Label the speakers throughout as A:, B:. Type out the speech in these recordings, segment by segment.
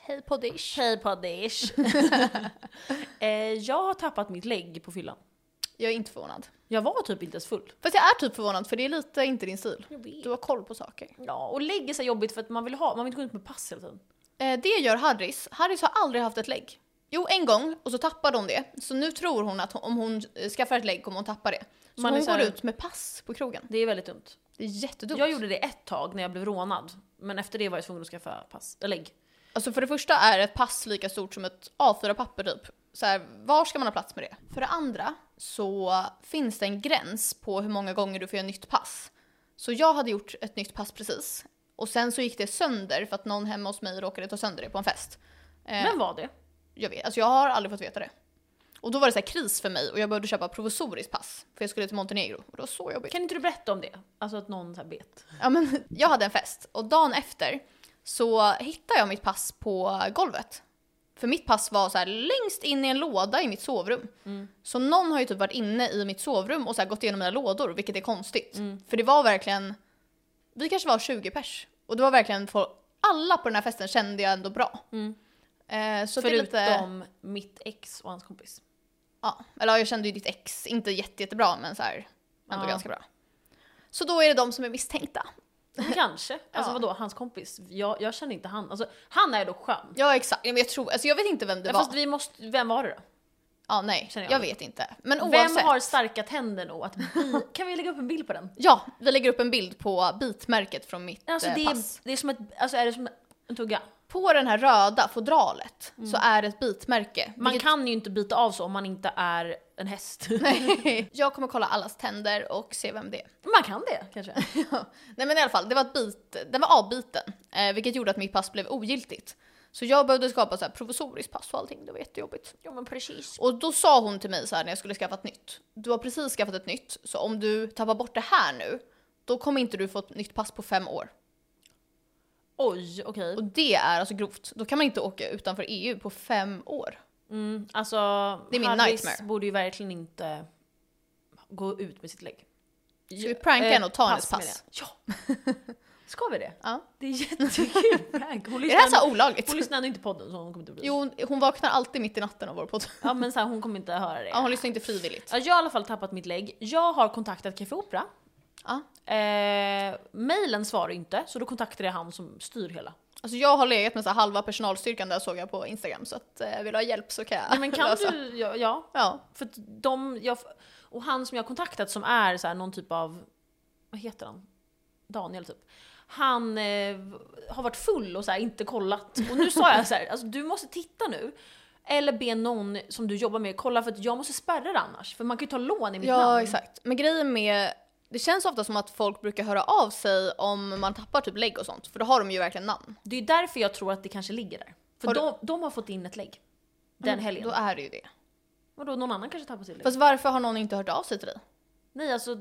A: Hej poddish.
B: Hej poddish. eh, jag har tappat mitt lägg på fyllan.
A: Jag är inte förvånad.
B: Jag var typ inte ens full.
A: Fast jag är typ förvånad för det är lite inte din stil.
B: Jag vet.
A: Du har koll på saker.
B: Ja, och lägg är så här jobbigt för att man vill ha, man vill inte gå ut med pass hela tiden.
A: Eh, det gör Harris. Harris har aldrig haft ett lägg. Jo, en gång och så tappade hon det. Så nu tror hon att hon- om hon eh, skaffar ett lägg kommer hon tappa det. Så
B: Man är
A: hon
B: så här-
A: går ut med pass på krogen.
B: Det är väldigt dumt.
A: Det är jättedumt.
B: Jag gjorde det ett tag när jag blev rånad. Men efter det var jag tvungen att skaffa pass, eller lägg.
A: Alltså för det första är ett pass lika stort som ett A4-papper typ. Så här, var ska man ha plats med det? För det andra så finns det en gräns på hur många gånger du får göra nytt pass. Så jag hade gjort ett nytt pass precis. Och sen så gick det sönder för att någon hemma hos mig råkade ta sönder det på en fest. Eh,
B: Vem var det?
A: Jag, vet, alltså jag har aldrig fått veta det. Och då var det så här kris för mig och jag behövde köpa provisoriskt pass. För jag skulle till Montenegro och det var så jobbigt.
B: Kan inte du berätta om det? Alltså att någon så här bet.
A: Ja, men, jag hade en fest och dagen efter så hittade jag mitt pass på golvet. För mitt pass var så här längst in i en låda i mitt sovrum.
B: Mm.
A: Så någon har ju typ varit inne i mitt sovrum och så här gått igenom mina lådor, vilket är konstigt.
B: Mm.
A: För det var verkligen, vi kanske var 20 pers. Och det var verkligen, folk, alla på den här festen kände jag ändå bra. Eh, så Förutom... det är lite,
B: Mm. Förutom mitt ex och hans kompis.
A: ja, eller ja, jag kände ju ditt ex, inte jätte, jättebra men så här, ändå
B: Ja.
A: ganska bra. Så då är det de som är misstänkta.
B: Men Kanske. Alltså
A: Ja.
B: vadå, hans kompis? Jag, jag känner inte han. Alltså, han är dock skön.
A: Ja exakt, men jag tror, alltså jag vet inte vem det
B: Ja,
A: var.
B: Fast vi måste, vem var det då?
A: Ja, nej.
B: Känner
A: Jag,
B: jag.
A: vet inte. Men oavsett.
B: Vem har starka tänder nog att bi- Kan vi lägga upp en bild på den?
A: Ja, vi lägger upp en bild på bitmärket från mitt
B: Alltså
A: eh,
B: det
A: pass.
B: är, det är som ett, alltså är det som en tugga?
A: På den här röda fodralet
B: Mm.
A: så är det ett bitmärke.
B: Man
A: vilket-
B: kan ju inte bita av så om man inte är en häst.
A: Nej. Jag kommer kolla allas tänder och se vem det är.
B: Man kan det kanske.
A: Nej men i alla fall, det var ett bit, den var avbiten. Eh, vilket gjorde att mitt pass blev ogiltigt. Så jag behövde skapa så här provisoriskt pass och allting, det var jättejobbigt.
B: Jo men precis.
A: Och då sa hon till mig så här när jag skulle skaffa ett nytt. Du har precis skaffat ett nytt, så om du tappar bort det här nu, då kommer inte du få ett nytt pass på fem år.
B: Oj, okej.
A: Och det är alltså grovt. Då kan man inte åka utanför EU på fem år.
B: Mm, alltså,
A: Det är min
B: Harris
A: nightmare.
B: borde ju verkligen inte gå ut med sitt lägg.
A: Ska vi pranka henne och ta hennes
B: eh, menar
A: pass?
B: jag. Ja! Ska vi det?
A: Ja.
B: Det är jättekul prank. Hon
A: Är det här
B: lyssnar,
A: så här olagligt?
B: hon lyssnar ändå inte på podden så hon kommer inte bli
A: Jo, hon- hon vaknar alltid mitt i natten av vår podd.
B: Ja men så här, hon kommer inte höra det.
A: Ja, hon lyssnar inte frivilligt.
B: Ja, jag har i alla fall tappat mitt lägg. Jag har kontaktat Café Opera.
A: Ja.
B: Eh, mailen svarar inte så då kontaktade jag han som styr hela.
A: Alltså jag har legat med så här halva personalstyrkan där såg jag på Instagram så att eh, vill du ha hjälp så kan jag
B: Nej, men kan
A: lösa.
B: du, ja, ja
A: Ja.
B: För att de, jag, och han som jag har kontaktat som är så här någon typ av, vad heter han? Daniel typ. Han eh, har varit full och så här inte kollat. Och nu sa jag så här, alltså, du måste titta nu. Eller be någon som du jobbar med kolla för att jag måste spärra det annars. För man kan ju ta lån i mitt
A: ja,
B: namn.
A: exakt. Men grejen med, det känns ofta som att folk brukar höra av sig om man tappar typ lägg och sånt för då har de ju verkligen namn.
B: Det är ju därför jag tror att det kanske ligger där. För
A: Har du-
B: de, de har fått in ett lägg. Den helgen.
A: Mm, Då är det ju det.
B: Vadå, någon annan kanske tappar sitt lägg?
A: Fast varför har någon inte hört av sig till dig?
B: Nej alltså,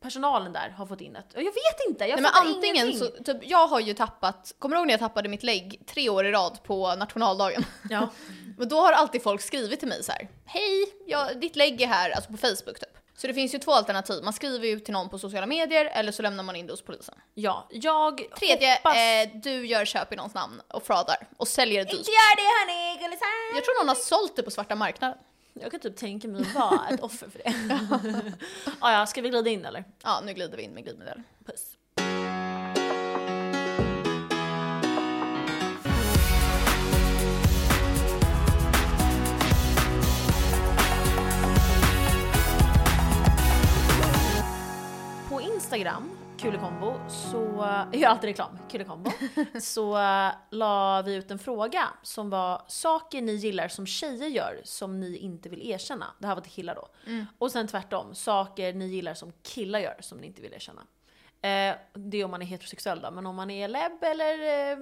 B: personalen där har fått in ett. Jag vet inte, jag
A: Nej, men
B: fattar
A: antingen
B: ingenting.
A: så, typ, jag har ju tappat, kommer du ihåg när jag tappade mitt lägg tre år i rad på nationaldagen?
B: Ja.
A: Men då har alltid folk skrivit till mig så här. hej, jag, ditt lägg är här, alltså på Facebook typ. Så det finns ju två alternativ, man skriver ju till någon på sociala medier eller så lämnar man in det hos polisen.
B: ja, jag
A: Tredje,
B: hoppas...
A: eh, du gör köp i någons namn och fraudar och säljer det dyrt.
B: gör det hörni, gullisar!
A: Jag tror någon har sålt det på svarta marknaden.
B: Jag kan typ tänka mig att vara ett offer för det. ah, ja, ska vi glida in eller?
A: Ja, nu glider vi in med glidmedel.
B: Puss. På Instagram, Kulekombo,
A: Mm.
B: så... Jag gör alltid reklam, Kulekombo. så eh, la vi ut en fråga som var saker ni gillar som tjejer gör som ni inte vill erkänna. Det här var till killar då.
A: Mm.
B: Och sen tvärtom, saker ni gillar som killar gör som ni inte vill erkänna. Eh, det är om man är heterosexuell då, men om man är lebb eller, eh,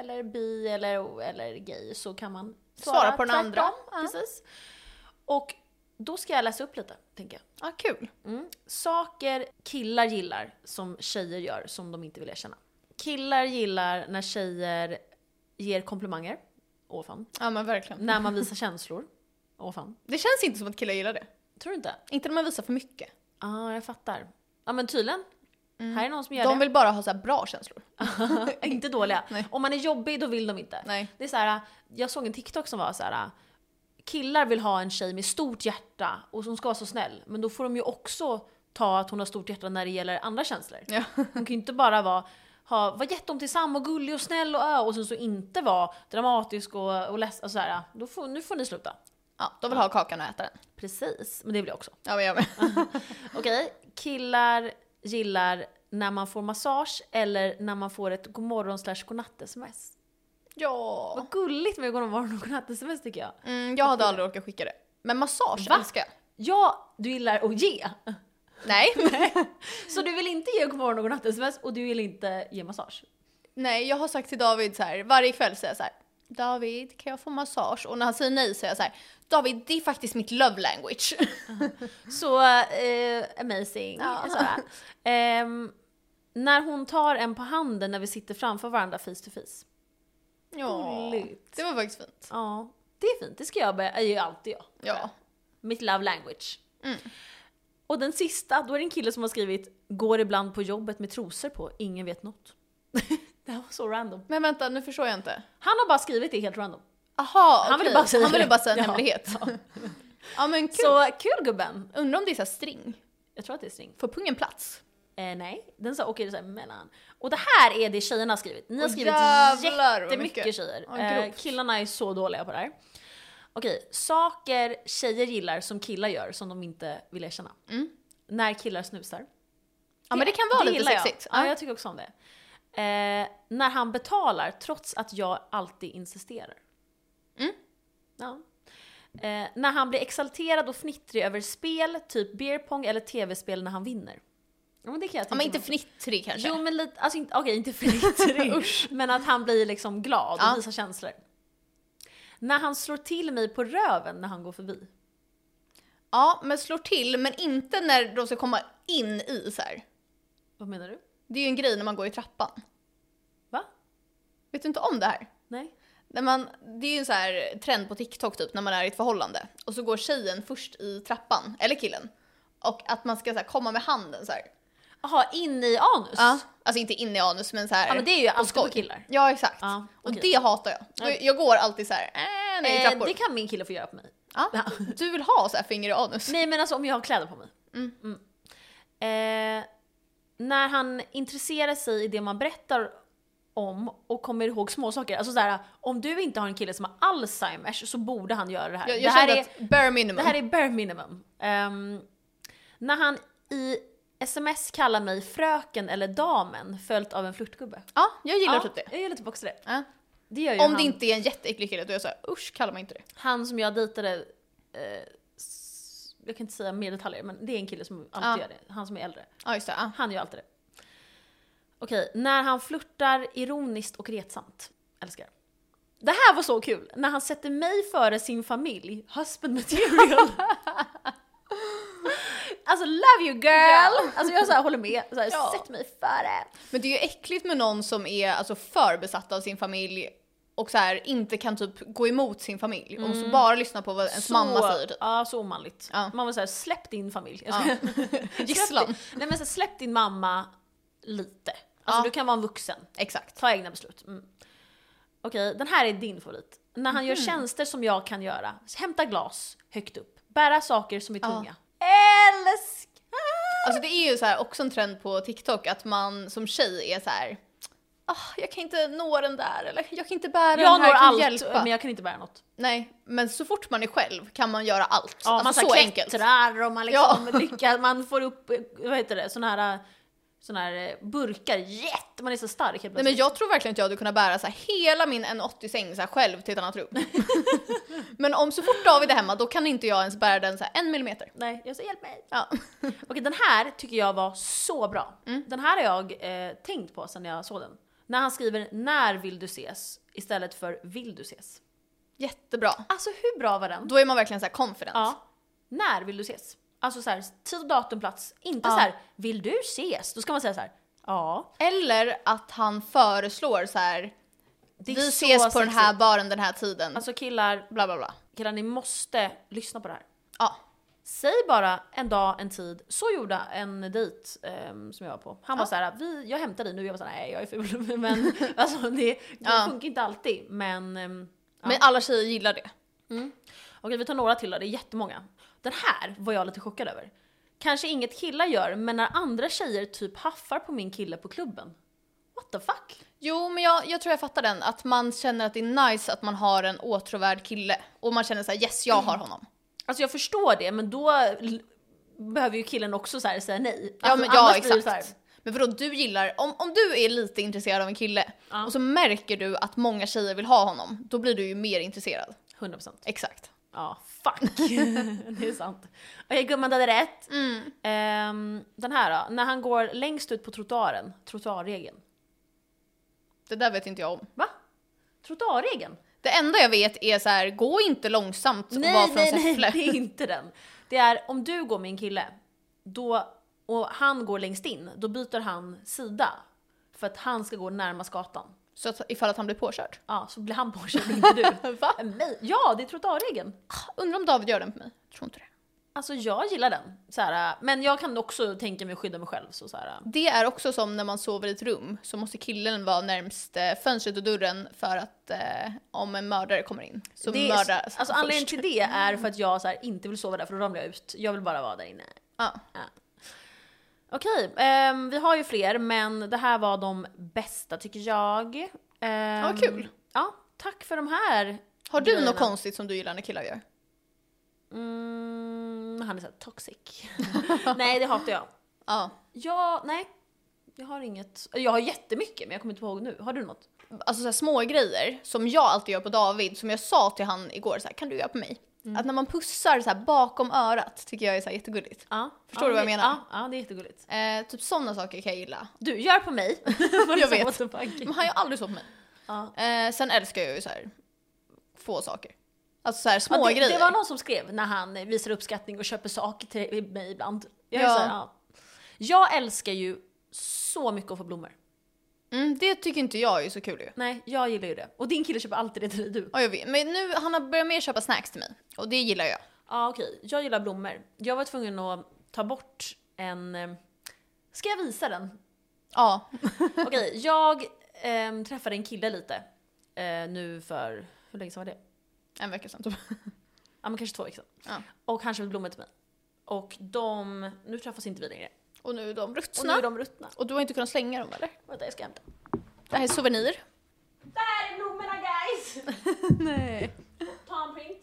B: eller bi eller, eller gay så kan man svara,
A: Svara på den
B: tvärtom.
A: andra. Ja.
B: Precis. Och då ska jag läsa upp lite, tänker jag.
A: Ja, kul.
B: Mm. Saker killar gillar som tjejer gör som de inte vill erkänna. Killar gillar när tjejer ger komplimanger. Åh fan.
A: Ja men verkligen.
B: När man visar känslor. Åh fan.
A: Det känns inte som att killar gillar det.
B: Tror du inte?
A: Inte när man visar för mycket.
B: Ja, ah, jag fattar. Ja men tydligen. Här är någon som gör
A: Mm. De
B: det.
A: vill bara ha så här bra känslor.
B: inte dåliga.
A: Nej.
B: Om man är jobbig då vill de inte.
A: Nej.
B: Det är så här, jag såg en TikTok som var så här. Killar vill ha en tjej med stort hjärta och som ska vara så snäll. Men då får de ju också ta att hon har stort hjärta när det gäller andra känslor.
A: Ja.
B: Hon kan ju inte bara vara ha, vara jätteomtänksam och gullig och snäll och ö och sen så inte vara dramatisk och, och ledsen. Alltså så här, då får, nu får ni sluta.
A: Ja, de vill ha kakan och äta den.
B: Precis, men det vill jag också.
A: Ja, men jag med.
B: Okej, killar gillar när man får massage eller när man får ett godmorgon slash godnatt-sms.
A: Ja.
B: Vad gulligt med godmorgon och godnatt-sms tycker jag.
A: Mm, jag hade aldrig orkat skicka det. Men massage
B: Va?
A: älskar jag.
B: Ja, du gillar att ge.
A: Nej.
B: Så du vill inte ge godmorgon och godnatt-sms och du vill inte ge massage.
A: nej, jag har sagt till David så här, varje kväll säger jag så här. David, kan jag få massage? Och när han säger nej säger jag så här. David, det är faktiskt mitt love language.
B: Så eh, amazing.
A: Ja.
B: Sara. Ehm, när hon tar en på handen när vi sitter framför varandra face to face.
A: Ja.
B: Gulligt.
A: Det var faktiskt fint.
B: Ja, det är fint. Det ska jag börja. Det är ju alltid jag.
A: Ja.
B: Mitt love language.
A: Mm.
B: Och den sista, då är det en kille som har skrivit “Går ibland på jobbet med trosor på, ingen vet något”. det här var så random.
A: Men vänta, nu förstår jag inte.
B: Han har bara skrivit det helt random.
A: Aha,
B: Han ville
A: okej.
B: bara säga
A: han ville
B: det.
A: bara säga en
B: Ja.
A: hemlighet. Ja, men kul.
B: Så kul gubben!
A: Undrar om det är så här string.
B: Jag tror att det är string.
A: Får pungen plats?
B: Eh, nej, den sa okej, det sa mellan. Och det här är det tjejerna har skrivit. Ni har
A: Åh,
B: skrivit
A: jävlar, vad mycket.
B: jättemycket tjejer.
A: Ja,
B: eh,
A: grovt.
B: killarna är så dåliga på det här. Okej, saker tjejer gillar som killar gör som de inte vill erkänna.
A: Mm.
B: När killar snusar.
A: Ja men det kan vara lite
B: gillar jag.
A: sexigt.
B: Ja, jag tycker också om det. Eh, när han betalar trots att jag alltid insisterar.
A: Mm.
B: Ja. Eh, när han blir exalterad och fnittrig över spel, typ beerpong eller tv-spel när han vinner. Ja, men det kan jag
A: Ja,
B: tänka
A: men inte
B: mig.
A: fnittrig kanske.
B: Jo men lite, alltså inte, okej inte fnittrig.
A: Usch.
B: men att han blir liksom glad och
A: Ja.
B: visar känslor. När han slår till mig på röven när han går förbi.
A: Ja, men slår till, men inte när de ska komma in i så här.
B: Vad menar du?
A: Det är ju en grej när man går i trappan.
B: Va?
A: Vet du inte om det här?
B: Nej?
A: När man, det är ju en så här trend på TikTok typ när man är i ett förhållande och så går tjejen först i trappan, eller killen. Och att man ska så här, komma med handen så här.
B: Jaha, in i anus?
A: Alltså inte in i anus men så här.
B: Ja, men det är ju alltid på
A: skoj.
B: killar.
A: Ja exakt.
B: Ja,
A: Och
B: okej.
A: det hatar jag.
B: Ja.
A: Jag, jag går alltid så här, äh, nej i
B: Eh,
A: trappor.
B: det kan min kille få göra på mig.
A: ja. Du vill ha så här finger i anus?
B: Nej men alltså om jag har kläder på mig.
A: Mm.
B: Eh, när han intresserar sig i det man berättar om och kommer ihåg småsaker. Alltså såhär, om du inte har en kille som har Alzheimers så borde han göra det här.
A: Jag, jag
B: det, här
A: kände
B: är,
A: att bare minimum.
B: det här är bare minimum. Ehm, när han i sms kallar mig fröken eller damen följt av en flörtgubbe.
A: Ja, jag gillar
B: Ja,
A: typ det.
B: Jag gillar typ också det.
A: Ja.
B: Det gör ju
A: Om
B: han.
A: det inte är en jätteäcklig kille, då är jag såhär usch kallar man inte det.
B: Han som jag dejtade, eh, s- jag kan inte säga mer detaljer men det är en kille som alltid
A: Ja.
B: gör det. Han som är äldre.
A: Ja just det, ja.
B: Han gör alltid det. Okej, när han flörtar ironiskt och retsamt. Älskar. Det här var så kul! När han sätter mig före sin familj, husband material. alltså love you girl!
A: Ja.
B: Alltså jag så här håller med, så här,
A: Ja.
B: sätt mig före.
A: Men det är ju äckligt med någon som är alltså, för besatt av sin familj och så här, inte kan typ gå emot sin familj och
B: Mm.
A: så bara lyssna på vad ens mamma säger. Typ.
B: Ja, så omanligt.
A: Ja.
B: Man var såhär, släpp din familj. Jag
A: Ja.
B: skojar. Släpp
A: Gisslan.
B: din, nej men så här, släpp din mamma lite. Alltså
A: Ja.
B: du kan vara en vuxen.
A: Exakt.
B: Ta egna beslut. Mm. Okej, den här är din favorit. När han
A: Mhm.
B: gör tjänster som jag kan göra. Hämta glas högt upp. Bära saker som är
A: Ja.
B: tunga. Älskar!
A: Alltså det är ju så här, också en trend på TikTok att man som tjej är så här. "Ah, jag kan inte nå den där eller jag kan inte bära
B: Jag
A: den här,
B: når
A: kan
B: allt
A: du hjälpa?
B: men jag kan inte bära något.
A: Nej, men så fort man är själv kan man göra allt.
B: Ja,
A: alltså
B: man
A: så
B: så här
A: enkelt.
B: klättrar och man liksom lyckas, man får upp, eh, vad heter det, såna här, såna här eh, burkar. Jätte, man är så stark helt
A: Nej men jag tror verkligen inte jag hade kunnat bära så här, hela min 1,80 säng så här, själv till ett annat rum. men om så fort David är hemma då kan inte jag ens bära den så här, en millimeter.
B: Nej, jag säger hjälp mig.
A: Ja.
B: Okej, den här tycker jag var så bra.
A: Mm.
B: Den här har jag eh, tänkt på sen jag såg den. När han skriver “När vill du ses?” istället för “Vill du ses?”
A: Jättebra.
B: Alltså hur bra var den?
A: Då är man verkligen så här confident.
B: Ja. När vill du ses? Alltså så här, tid och datum, plats. Inte
A: Ja.
B: så här “Vill du ses?” Då ska man säga så här “Ja,
A: Eller att han föreslår så här.
B: det är
A: vi
B: så
A: ses på den
B: sexigt."
A: här baren den här tiden.
B: Alltså killar,
A: bla bla bla.
B: killar ni måste lyssna på det här.
A: Ja.
B: Säg bara en dag, en tid. Så gjorde en dejt ehm, som jag var på. Han var
A: Ja.
B: så här, vi, jag hämtar dig nu. Jag var så här, nej jag är ful. Men alltså det, det
A: Ja.
B: funkar inte alltid. Men ehm, Ja.
A: Men alla tjejer gillar det.
B: Okej, vi tar några till då. Det är jättemånga. Den här var jag lite chockad över. Kanske inget killar gör, men när andra tjejer typ haffar på min kille på klubben. What the fuck?
A: Jo, men jag, jag tror jag fattar den. Att man känner att det är nice att man har en åtråvärd kille. Och man känner så här, yes, jag har honom.
B: Alltså jag förstår det, men då l- behöver ju killen också så här säga nej.
A: Ja,
B: Alltså,
A: men, ja
B: annars blir det så här-
A: exakt. Men vadå, du gillar, om, om du är lite intresserad av en kille
B: Ja.
A: och så märker du att många tjejer vill ha honom, då blir du ju mer intresserad.
B: 100%.
A: Exakt.
B: Ja, fuck. det är sant. Okej gumman, du hade rätt. Ehm, den här då, när han går längst ut på trottoaren, trottoarregeln.
A: Det där vet inte jag om.
B: Va? Trottoarregeln?
A: Det enda jag vet är så här, gå inte långsamt och var från Säffle.
B: det är inte den. Det är om du går med en kille då, och han går längst in, då byter han sida. För att han ska gå närmast gatan.
A: Så att, ifall att han blir påkörd.
B: Ja, så blir han påkörd, inte du. Äh,
A: Va?
B: Nej, ja, det är trottoarregeln.
A: Undrar om David gör den på mig? Jag tror inte det.
B: Alltså jag gillar den. Så här, men jag kan också tänka mig att skydda mig själv. Så så här,
A: Det är också som när man sover i ett rum så måste killen vara närmst eh, fönstret och dörren för att eh, om en mördare kommer in så
B: det är,
A: mördas
B: alltså,
A: han
B: anledningen till
A: först.
B: det är för att jag så här, inte vill sova där för då ramlar jag ut. Jag vill bara vara där inne.
A: Ja.
B: Okej, ehm, vi har ju fler men det här var de bästa tycker jag. Ehm,
A: Ja, kul.
B: Ja, tack för de här.
A: Har du
B: Grejerna.
A: något konstigt som du gillar när killar gör?
B: Mm, han är såhär toxic. nej, det hatar jag.
A: Ja.
B: Ja, nej. Jag har inget. Jag har jättemycket men jag kommer inte ihåg nu. Har du något?
A: Alltså så här, små grejer som jag alltid gör på David som jag sa till han igår så här, kan du göra på mig? Att när man pussar så här, bakom örat tycker jag är så här, jättegulligt.
B: Ja.
A: Förstår
B: ja,
A: du vad jag
B: det-
A: menar?
B: Ja, ja, det är jättegulligt.
A: Eh, typ sådana saker kan jag gilla.
B: Du, gör på mig.
A: Jag vet.
B: What the fuck?
A: Men han gör aldrig så på mig.
B: Ja.
A: Eh, sen älskar jag ju så här få saker. Alltså så här små
B: Ja, det,
A: grejer.
B: det var någon som skrev när han eh, visar uppskattning och köper saker till mig ibland. Jag, är
A: Ja.
B: så här, ja. jag älskar ju så mycket att få blommor.
A: mm, det tycker inte jag är så kul ju.
B: Nej, jag gillar ju det. Och din kille köper alltid det till dig, du.
A: Ja, jag vet. Men nu, han har börjat mer köpa snacks till mig. Och det gillar jag.
B: Ja okej, jag gillar blommor. Jag var tvungen att ta bort en... eh, Ska jag visa den?
A: Ja.
B: Okej, jag ehm, träffade en kille lite. eh, nu för, hur länge sedan var det?
A: En vecka sedan typ.
B: Ja men kanske två veckor sedan.
A: Ja.
B: Och han köpte blommor till mig. Och de, nu träffas inte vi längre.
A: Och nu är de
B: Och nu
A: ruttna.
B: är
A: Och,
B: de ruttna.
A: du har inte kunnat slänga dem eller?
B: Vänta jag ska hämta.
A: Det här är souvenir.
B: Där är blommorna guys!
A: Nej.
B: Ta en print.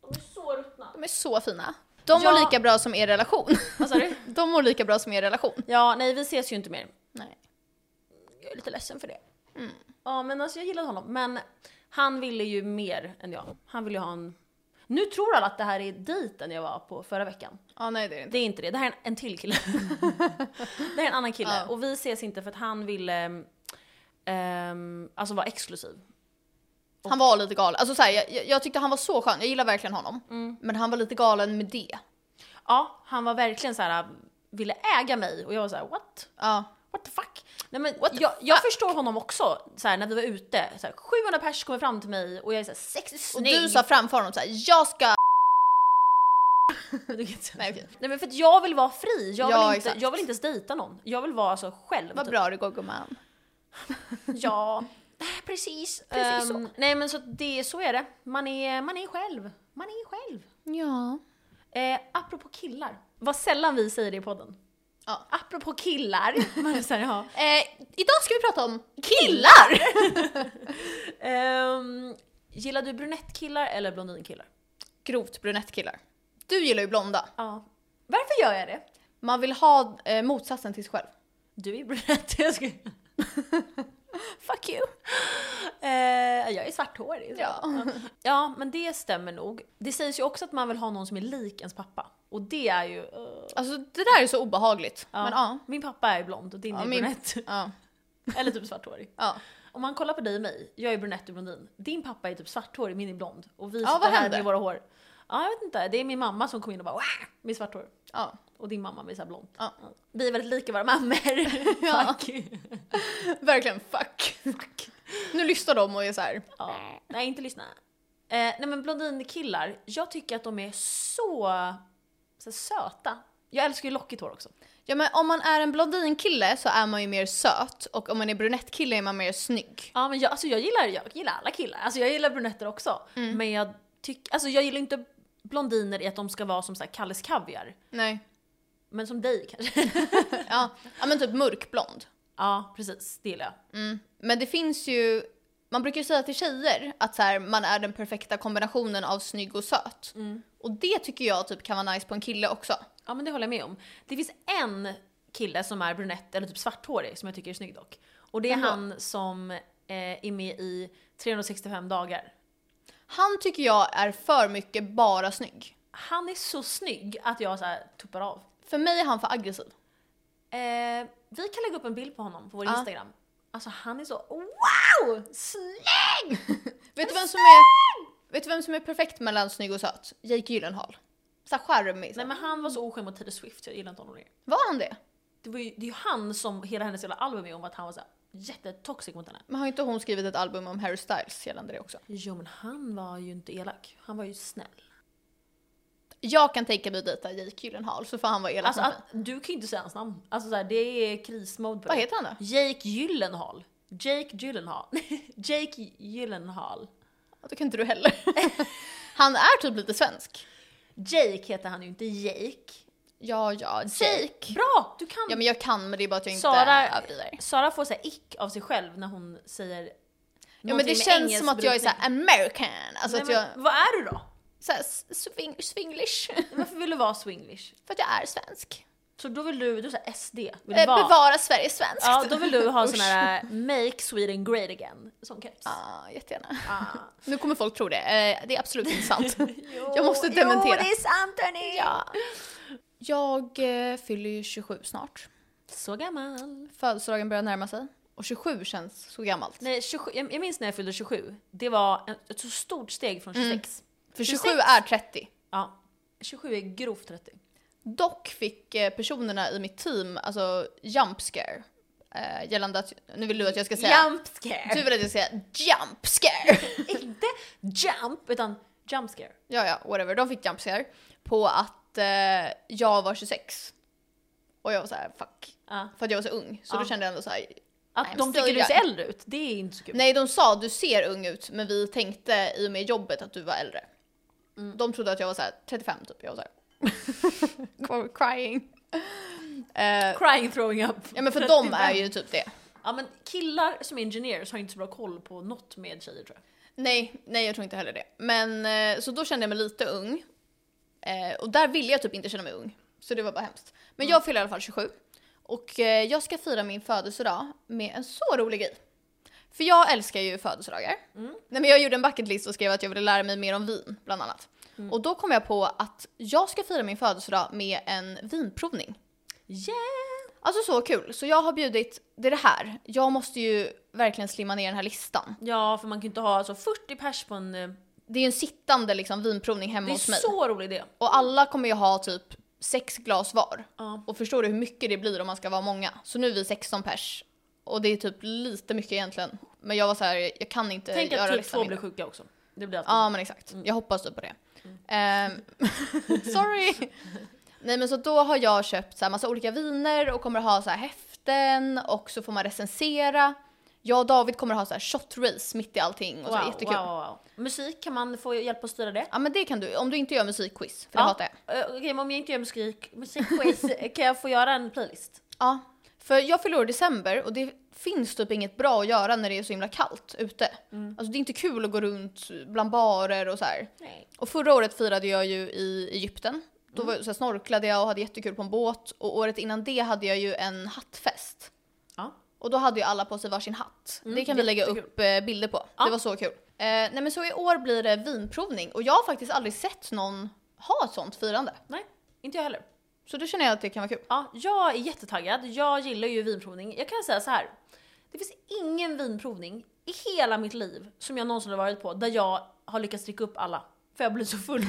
B: De är så ruttna.
A: De är så fina. De
B: Ja.
A: mår lika bra som er relation.
B: Vad sa du?
A: De mår lika bra som er relation.
B: Ja, nej vi ses ju inte mer.
A: Nej.
B: Jag är lite ledsen för det. Ja men alltså jag gillade honom. Men han ville ju mer än jag. Han ville ju ha en... Nu tror alla att det här är dejten jag var på förra veckan.
A: Ja, nej det är det inte.
B: Det är inte det, det här är en, en till kille. det här är en annan kille.
A: Ja.
B: Och vi ses inte för att han ville ehm, alltså vara exklusiv.
A: Han var lite galen. Alltså så här, jag, jag- jag tyckte han var så skön. Jag gillar verkligen honom. Men han var lite galen med det.
B: Ja, han var verkligen så här ville äga mig och jag var så här: what?
A: Ja.
B: What the fuck? Nej, men
A: What the
B: jag, jag förstår honom också, så här, när vi var ute, så här, 700 pers kommer fram till mig och jag är såhär sexig,
A: Och
B: snygg.
A: du sa framför honom så här, jag ska...
B: Du kan inte säga
A: Nej,
B: så.
A: okej.
B: Nej men för att jag vill vara fri, jag
A: Ja,
B: vill,
A: exakt.
B: inte, jag vill inte ens dejta någon. Jag vill vara alltså själv.
A: Vad
B: typ.
A: bra det går gumman.
B: Ja, precis.
A: Precis
B: Ehm, Nej men så, att det, så är det, man är, man är själv. Man är själv.
A: Ja.
B: Eh, apropå killar, vad sällan vi säger det i podden.
A: Ja.
B: Apropå killar. Man är så här, ja.
A: Eh, idag ska vi prata om killar!
B: Ehm, gillar du brunettkillar eller blondinkillar?
A: Grovt brunettkillar. Du gillar ju blonda.
B: Ja. Varför gör jag det?
A: Man vill ha eh, motsatsen till sig själv.
B: Du är brunett, jag ska...
A: Fuck you!
B: Eh, jag är svarthårig. så.
A: Ja.
B: ja, men det stämmer nog. Det sägs ju också att man vill ha någon som är lik ens pappa. Och det är ju... eh,
A: Alltså det där är så obehagligt.
B: ja.
A: Men ja.
B: Min pappa är ju blond och din
A: Ja,
B: är
A: min-
B: brunett.
A: ja.
B: Eller typ svarthårig.
A: ja.
B: Om man kollar på dig och mig, jag är brunett och blondin. Din pappa är typ svarthårig, min är blond. Och vi
A: Ja,
B: sitter
A: vad
B: här
A: händer?
B: med våra hår. Ja, jag vet inte. Det är min mamma som kom in och bara "Wah!" med svart hår.
A: ja.
B: Och din mamma med såhär blont.
A: Ja.
B: Vi är väldigt lika våra mammor.
A: Ja.
B: Fuck.
A: Verkligen fuck. Nu lyssnar de och är så här.
B: Ja. Nej, inte lyssna. Eh, nej men blondinkillar, jag tycker att de är så, så söta. Jag älskar ju lockigt hår också.
A: Ja men om man är en blondinkille så är man ju mer söt och om man är brunettkille är man mer snygg.
B: Ja men jag, alltså jag, gillar, jag gillar alla killar, alltså jag gillar brunetter också. Men jag, tyck, alltså jag gillar inte blondiner i att de ska vara som så här Kalles Kaviar.
A: Nej.
B: Men som dig kanske?
A: Ja, ja men typ mörkblond.
B: ja precis, det gillar jag.
A: Mm. Men det finns ju, man brukar ju säga till tjejer att så här, man är den perfekta kombinationen av snygg och söt.
B: Mm.
A: Och det tycker jag typ kan vara nice på en kille också.
B: Ja men det håller jag med om. Det finns en kille som är brunett eller typ svarthårig som jag tycker är snygg dock. Och det är
A: Jaha.
B: han som eh, är med i 365 dagar.
A: Han tycker jag är för mycket bara snygg.
B: Han är så snygg att jag så här tuppar av.
A: För mig är han för aggressiv.
B: Eh, vi kan lägga upp en bild på honom på vår
A: Ja.
B: Instagram. Alltså han är så wow! Snygg!
A: Vet du vem som är, vet du vem som är perfekt mellan snygg och söt? Jake Gyllenhaal. Så här charmig. så.
B: Nej men han var så oskön mot Taylor Swift, jag gillar inte honom längre.
A: Var han det?
B: Det, var ju, det är ju han som hela hennes jävla album är om att han var så här jättetoxic mot henne.
A: Men har inte hon skrivit ett album om Harry Styles gällande det också?
B: Jo men han var ju inte elak, han var ju snäll.
A: Jag kan tänka mig att dejta Jake Gyllenhaal så får han vara elak
B: Alltså
A: mot mig.
B: att, du kan ju inte säga hans namn. Alltså så här, det är krismode på
A: Vad
B: det.
A: heter han då?
B: Jake Gyllenhaal. Jake Gyllenhaal. Jake Gyllenhaal.
A: Ja, Det kan inte du heller. han är typ lite svensk.
B: Jake heter han ju inte Jake.
A: Ja, ja, Jake.
B: Bra! Du kan.
A: Ja men jag kan men det är bara att jag inte
B: Sara,
A: bryr mig.
B: Sara får säga ick av sig själv när hon säger
A: Ja men det känns som att jag är såhär American. Alltså att jag,
B: Vad är du då?
A: såhär swing, swinglish.
B: Varför vill du vara swinglish?
A: För att jag är svensk.
B: Så då vill du, du är såhär SD. Vill du
A: Eh,
B: vara-
A: Bevara Sverige svenskt.
B: Ja, då vill du ha sån
A: Usch.
B: här make Sweden great again. Sån keps.
A: Ja, jättegärna.
B: Ah.
A: Nu kommer folk tro det. Eh, Det är absolut inte sant.
B: Jo,
A: Jag måste dementera.
B: Jo, det är sant hörni!
A: ja. Jag eh, fyller ju 27 snart.
B: Så gammal.
A: Födelsedagen börjar närma sig. Och 27 känns så gammalt.
B: Nej, 27, jag jag minns när jag fyllde 27. Det var en- ett så stort steg från
A: Mm.
B: 26.
A: För
B: 26.
A: 27 är 30.
B: Ja. 27 är grovt 30.
A: Dock fick eh, personerna i mitt team alltså jump scare. Eh, gällande att, nu vill du att jag ska säga,
B: Jump scare!
A: du vill att jag ska säga jump scare.
B: Inte jump, utan jump scare.
A: ja ja, whatever. De fick jump scare på att eh, jag var 26. Och jag var så här: fuck.
B: Ja.
A: För att jag var så ung. Så
B: Ja.
A: då kände jag ändå så här.
B: Att
A: I'm
B: de
A: still
B: tycker du ser
A: young.
B: äldre ut, det är inte så kul.
A: nej de sa du ser ung ut men vi tänkte i och med jobbet att du var äldre. De trodde att jag var så här 35 typ, jag var såhär crying. Eh,
B: Crying throwing up.
A: ja men för de är ju typ det.
B: Ja men killar som är engineers har inte så bra koll på något med tjejer tror jag.
A: Nej, nej jag tror inte heller det. Men eh, så då kände jag mig lite ung. Eh, och där ville jag typ inte känna mig ung. Så det var bara hemskt. Men
B: Mm.
A: jag fyller i alla fall 27. Och eh, jag ska fira min födelsedag med en så rolig grej. För jag älskar ju födelsedagar.
B: Mm.
A: Nej, men jag gjorde en bucketlist och skrev att jag ville lära mig mer om vin bland annat.
B: Mm.
A: Och då kom jag på att jag ska fira min födelsedag med en vinprovning.
B: Yeah!
A: Alltså så kul. Så jag har bjudit, det är det här. Jag måste ju verkligen slimma ner den här listan.
B: Ja för man kan ju inte ha alltså, 40 pers på en... eh,
A: Det är ju en sittande liksom, vinprovning hemma
B: Det är
A: hos mig.
B: så rolig idé.
A: Och alla kommer ju ha typ sex glas var.
B: Ja.
A: Och förstår du hur mycket det blir om man ska vara många? Så nu är vi 16 pers. Och det är typ lite mycket egentligen. Men jag var så här, jag kan inte
B: Tänk
A: göra
B: att typ
A: listan
B: två blir
A: mindre.
B: sjuka också. Det blir alltid
A: Ja men exakt, jag hoppas typ på det. Ehm, sorry! Nej men så då har jag köpt så här massa olika viner och kommer ha så här häften och så får man recensera. Jag och David kommer ha så här shot race mitt i allting och så här, alltså, jättekul.
B: wow, wow, wow. Musik, kan man få hjälp att styra det?
A: Ja men det kan du, om du inte gör musikquiz, för det
B: Ja.
A: hatar jag.
B: Eh, Okej, men om jag inte gör musik, musikquiz, kan jag få göra en playlist?
A: Ja, för jag förlorar i december och det finns typ inget bra att göra när det är så himla kallt ute.
B: Mm.
A: Alltså det är inte kul att gå runt bland barer och så här.
B: Nej.
A: Och förra året firade jag ju i Egypten. Då
B: Mm.
A: var, så här, snorklade jag och hade jättekul på en båt. Och året innan det hade jag ju en hattfest.
B: Ja. Mm,
A: Och då hade ju alla på sig varsin hatt. det kan vi lägga
B: jättekul.
A: upp eh, bilder på. Det var så kul. Eh, nej men så i år blir det vinprovning och jag har faktiskt aldrig sett någon ha ett sånt firande.
B: Nej, inte jag heller.
A: Så då känner jag att det kan vara kul.
B: Ja, jag är jättetaggad, jag gillar ju vinprovning. Jag kan säga så här. det finns ingen vinprovning i hela mitt liv som jag någonsin har varit på där jag har lyckats dricka upp alla. För jag blir så full.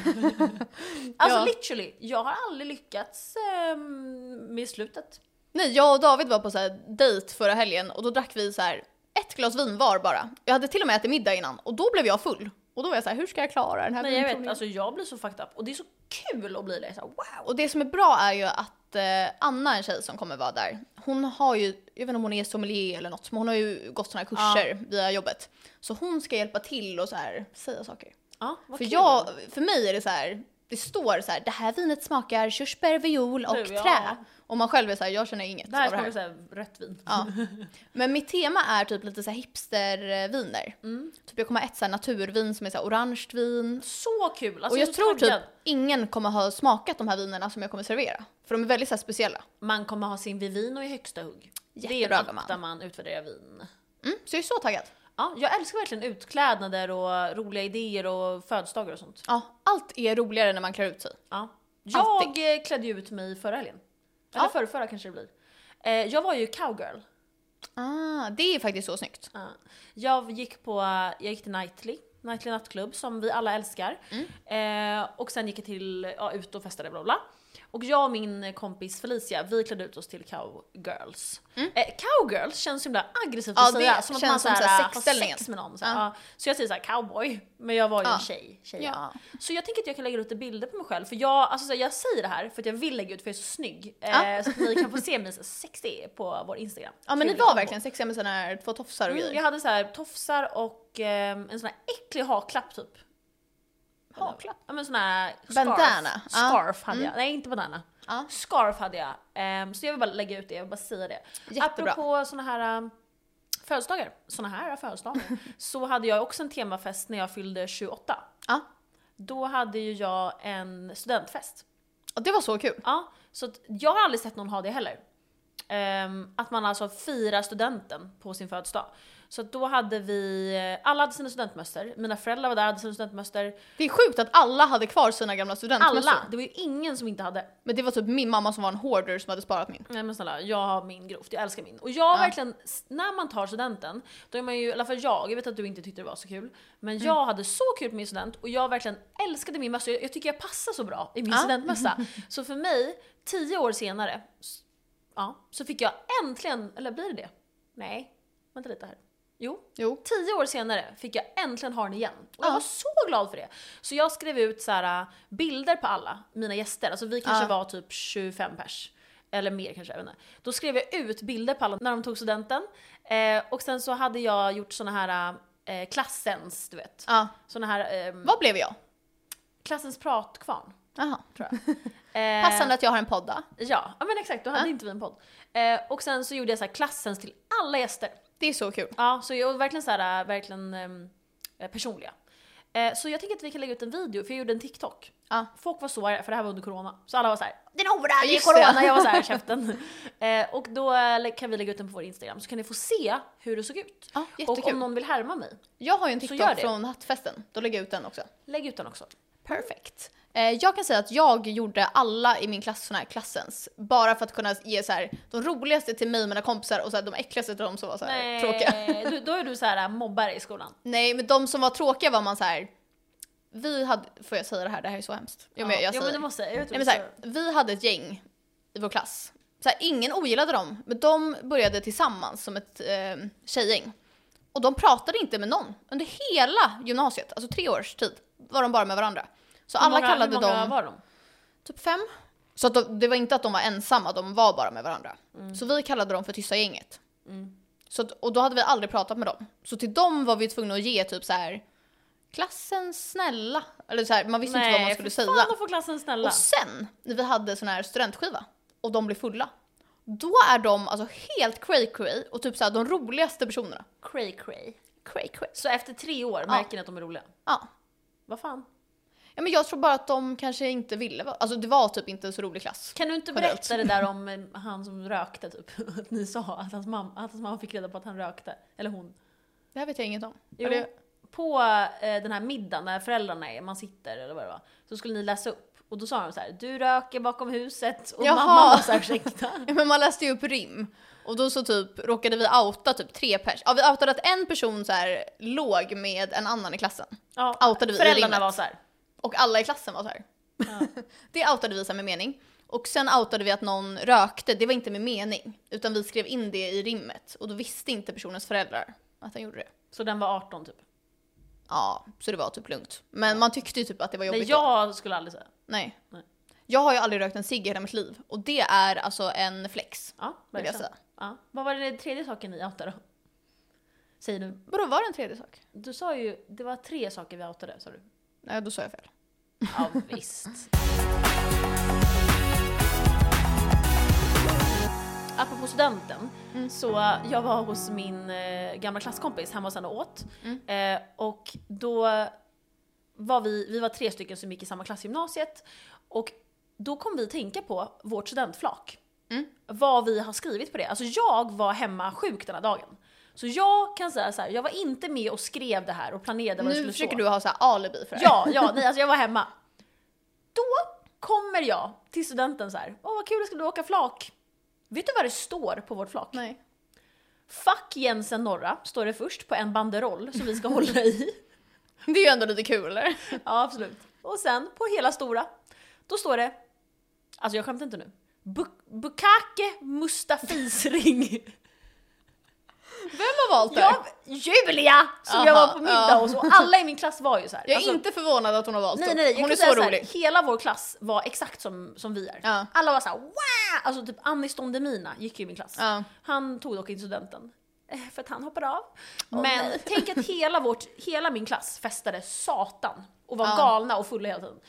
B: alltså
A: Ja.
B: literally, jag har aldrig lyckats ehm, med slutet.
A: Nej, jag och David var på så här dejt förra helgen och då drack vi så här ett glas vin var bara. Jag hade till och med ätit middag innan och då blev jag full. Och då var jag så här, hur ska jag klara den här
B: Men jag vet,
A: bilprovningen?
B: alltså jag blir så fucked up och det är så kul att bli det. Så här, wow!
A: Och det som är bra är ju att eh, Anna, en tjej som kommer vara där, hon har ju, jag vet inte om hon är sommelier eller något, men hon har ju gått sådana här kurser via jobbet. Så hon ska hjälpa till och så här säga saker.
B: Ja, vad
A: För,
B: kul.
A: jag, för mig är det så här, det står så här, det här vinet smakar körsbär, viol och
B: Du, ja.
A: trä. Och man själv är så här, jag känner inget
B: det här
A: av det
B: smakar
A: här.
B: såhär rött vin.
A: Ja. Men mitt tema är typ lite så här hipsterviner. Typ jag kommer ha ett så här naturvin som är så här orange vin.
B: Så kul! Alltså,
A: och jag
B: är så
A: tror typ
B: taggad.
A: ingen kommer ha smakat de här vinerna som jag kommer servera. För de är väldigt så här speciella.
B: Man kommer ha sin Vivino i högsta hugg. det är
A: Jättebra,
B: en app
A: gumman.
B: där man utvärderar vin.
A: Mm, så jag är så taggad.
B: Ja, jag älskar verkligen utklädnader och roliga idéer och födelsedagar och sånt.
A: Ja, allt är roligare när man klär ut sig.
B: Ja. Jag
A: Alltid.
B: eh, klädde ju ut mig förra helgen. Eller
A: Ja.
B: förrförra kanske det blir. Eh, jag var ju cowgirl.
A: Ah, det är faktiskt så snyggt.
B: Ja. Jag gick på, jag gick till Nightly, Nightly nattklubb som vi alla älskar.
A: Mm.
B: Eh, och sen gick jag till, ja ut och festade bla bla. Och jag och min kompis Felicia, vi klädde ut oss till cowgirls. Eh, cowgirls känns så himla aggressivt
A: Mm. Ja,
B: att säga,
A: det
B: som att
A: känns
B: man
A: som
B: såhär,
A: så här
B: har
A: sexställningen.
B: sex med någon. Så, här, ja. så jag säger såhär cowboy, men jag var ju
A: Ja.
B: en tjej. tjej
A: Ja.
B: Så jag tänker att jag kan lägga ut lite bilder på mig själv, för jag, alltså, så här, jag säger det här för att jag vill lägga ut för jag är så snygg. Eh,
A: Ja.
B: Så att ni kan få se mig så här sexy på vår Instagram.
A: Ja men ni
B: Kul
A: var
B: kombo.
A: verkligen sexiga med såna här två tofsar och
B: Mm, jag
A: grejer.
B: hade så här tofsar och ehm, en sån här äcklig haklapp typ.
A: Haklapp?
B: Ja men sån här scarf.
A: Bandana, ja. Mm.
B: Scarf hade jag. Nej inte bandana.
A: Ja.
B: Scarf hade jag. Ehm, så jag vill bara lägga ut det, jag vill bara säga det.
A: Jättebra.
B: Apropå såna här um, födelsedagar, såna här födelsedagar, så hade jag också en temafest när jag fyllde 28.
A: Ja.
B: Då hade ju jag en studentfest.
A: Och det var så kul.
B: Ja, så att jag har aldrig sett någon ha det heller. Ehm, att man alltså firar studenten på sin födelsedag. Så att då hade vi, eh, alla hade sina studentmössor, mina föräldrar var där hade sina studentmössor.
A: Det är sjukt att alla hade kvar sina gamla studentmössor.
B: Alla! Det var ju ingen som inte hade.
A: Men det var typ min mamma som var en hoarder som hade sparat min.
B: Nej men snälla, jag har min grovt, jag älskar min. Och jag verkligen, s- när man tar studenten, då är man ju, i alla fall jag, jag vet att du inte tyckte det var så kul. Men jag hade så kul på min student och jag verkligen älskade min mössa. Jag, jag tycker jag passar så bra i min
A: Ja.
B: studentmössa. Så för mig, tio år senare, s- ja, så fick jag äntligen, eller blir det det? Nej, vänta lite här. Jo,
A: Jo.
B: tio år senare fick jag äntligen ha den igen. Och jag
A: Ja.
B: var så glad för det. Så jag skrev ut så här, äh, bilder på alla mina gäster, alltså vi kanske
A: Ja.
B: var typ 25 pers. Eller mer kanske, jag vet inte. Då skrev jag ut bilder på alla när de tog studenten. Eh, och sen så hade jag gjort såna här eh, klassens, du vet.
A: Ja.
B: Såna här, ehm,
A: Vad blev jag?
B: klassens pratkvarn.
A: Jaha.
B: Tror jag. Eh,
A: Passande att jag har en podda.
B: Ja, ja men exakt, då hade
A: Ja.
B: inte vi en podd. Eh, och sen så gjorde jag så här klassens till alla gäster.
A: Det är så kul.
B: Ja, så jag var verkligen så här, verkligen ehm, eh, personliga. Eh, så jag tänker att vi kan lägga ut en video, för jag gjorde en TikTok.
A: Ja.
B: Folk var så arga, för det här var under corona. Så alla var så här, den hora, det är
A: Just
B: corona!
A: det.
B: Jag var så här, käften. Eh, och då eh, kan vi lägga ut den på vår Instagram, så kan ni få se hur det såg ut.
A: Ja,
B: och om
A: jättekul.
B: någon vill härma mig,
A: Jag har ju en
B: Så gör
A: TikTok
B: det.
A: från hattfesten. Då lägger jag ut den också.
B: lägg ut den också.
A: Perfekt. Eh, jag kan säga att jag gjorde alla i min klass såna här klassens. Bara för att kunna ge så här, de roligaste till mig och mina kompisar och så här, de äckligaste till de som var så här, tråkiga.
B: Eh, du, då är du så här mobbare i skolan.
A: Nej men de som var tråkiga var man så här. Vi hade, får jag säga det här? Det här är så hemskt. Jo, men jag
B: ja,
A: säger
B: men du måste, jag vet
A: Nej,
B: vad
A: men
B: du
A: så här, vi hade ett gäng i vår klass. Så här, ingen ogillade dem, men de började tillsammans som ett eh, tjejgäng. Och de pratade inte med någon under hela gymnasiet, alltså tre års tid var de bara med varandra. Så
B: Hur
A: alla
B: många-
A: kallade
B: hur många
A: dem
B: var de?
A: typ fem. Så att de, det var inte att de var ensamma, de var bara med varandra.
B: Mm.
A: Så vi kallade dem för tysta gänget. Så att, och då hade vi aldrig pratat med dem. Så till dem var vi tvungna att ge typ så här klassens snälla. Eller så här, man visste inte vad man skulle
B: för
A: säga.
B: fan, då får klassen snälla.
A: Och sen när vi hade sån här studentskiva och de blev fulla. Då är de alltså helt cray cray och typ såhär de roligaste personerna.
B: Cray cray.
A: Cray cray.
B: Så efter tre år märker ni att de är roliga?
A: Ja.
B: Vad fan?
A: ja men jag tror bara att de kanske inte ville vara, alltså det var typ inte en så rolig klass.
B: Kan du inte
A: Generellt.
B: berätta det där om eh, han som rökte typ? Att ni sa att hans mamma, att hans mamma fick reda på att han rökte. Eller hon.
A: Det här vet jag inget om.
B: Jo,
A: Eller-
B: På eh, den här middagen när föräldrarna är, man sitter eller vad det var. Så skulle ni läsa upp. Och då sa de så här: du röker bakom huset. Och
A: Jaha.
B: mamma var såhär, ursäkta.
A: Ja, men man läste ju upp rim. Och då så typ råkade vi outa typ tre pers. Ja vi outade att en person så här låg med en annan i klassen.
B: Ja,
A: Outade vi i
B: föräldrarna
A: rimmet.
B: var såhär.
A: Och alla i klassen var så här. det outade vi så här med mening. Och sen outade vi att någon rökte, det var inte med mening. Utan vi skrev in det i rimmet och då visste inte personens föräldrar att han gjorde det.
B: Så den var 18 typ.
A: Ja, så det var typ lugnt. Men man tyckte ju typ att det var jobbigt
B: Nej,
A: då.
B: jag skulle aldrig säga.
A: Nej.
B: Nej.
A: Jag har ju aldrig rökt en cigg i hela mitt liv och det är alltså en flex.
B: Ja,
A: Vill jag
B: verkligen.
A: säga.
B: Ja. Vad var den tredje saken ni outade då? Säger du.
A: Vadå, var det en tredje sak?
B: Du sa ju, det var tre saker vi outade sa du.
A: Nej, då sa jag fel.
B: Ja, visst. Apropå studenten,
A: Mm.
B: så jag var hos min eh, gamla klasskompis hemma hos henne och åt.
A: Mm.
B: Eh, och då var vi, vi var tre stycken som gick i samma klass i gymnasiet. Och då kom vi tänka på vårt studentflak.
A: Mm.
B: Vad vi har skrivit på det. Alltså jag var hemma sjuk den här dagen. Så jag kan säga så här, jag var inte med och skrev det här och planerade vad det
A: Nu
B: skulle
A: försöker
B: stå.
A: du ha så här alibi för det här.
B: Ja, ja, nej alltså jag var hemma. Då kommer jag till studenten så här. åh vad kul, ska du åka flak? Vet du vad det står på vårt flak?
A: Nej.
B: Fuck Jensen Norra, står det först på en banderoll som vi ska hålla i.
A: Det är ju ändå lite kul eller?
B: Ja, absolut. Och sen på hela stora, då står det, alltså jag skämtar inte nu, Bu- Bukake Mustafis ring.
A: Vem har valt det?
B: Jag, Julia! Som jag
A: Aha,
B: var på
A: ja.
B: middag hos och alla i min klass var ju så här.
A: Jag är
B: alltså-
A: inte förvånad att hon har valt
B: Nej,
A: det.
B: nej, nej, jag
A: Hon
B: kan
A: är
B: säga
A: så
B: så här,
A: rolig.
B: Hela vår klass var exakt som, som vi är.
A: Ja.
B: Alla var såhär wow! Alltså typ Anis Don Demina gick ju i min klass.
A: Ja.
B: Han tog dock inte studenten. eh, För att han hoppade av. Men tänk att hela, vårt, hela min klass festade satan och var
A: Ja.
B: galna och fulla hela tiden.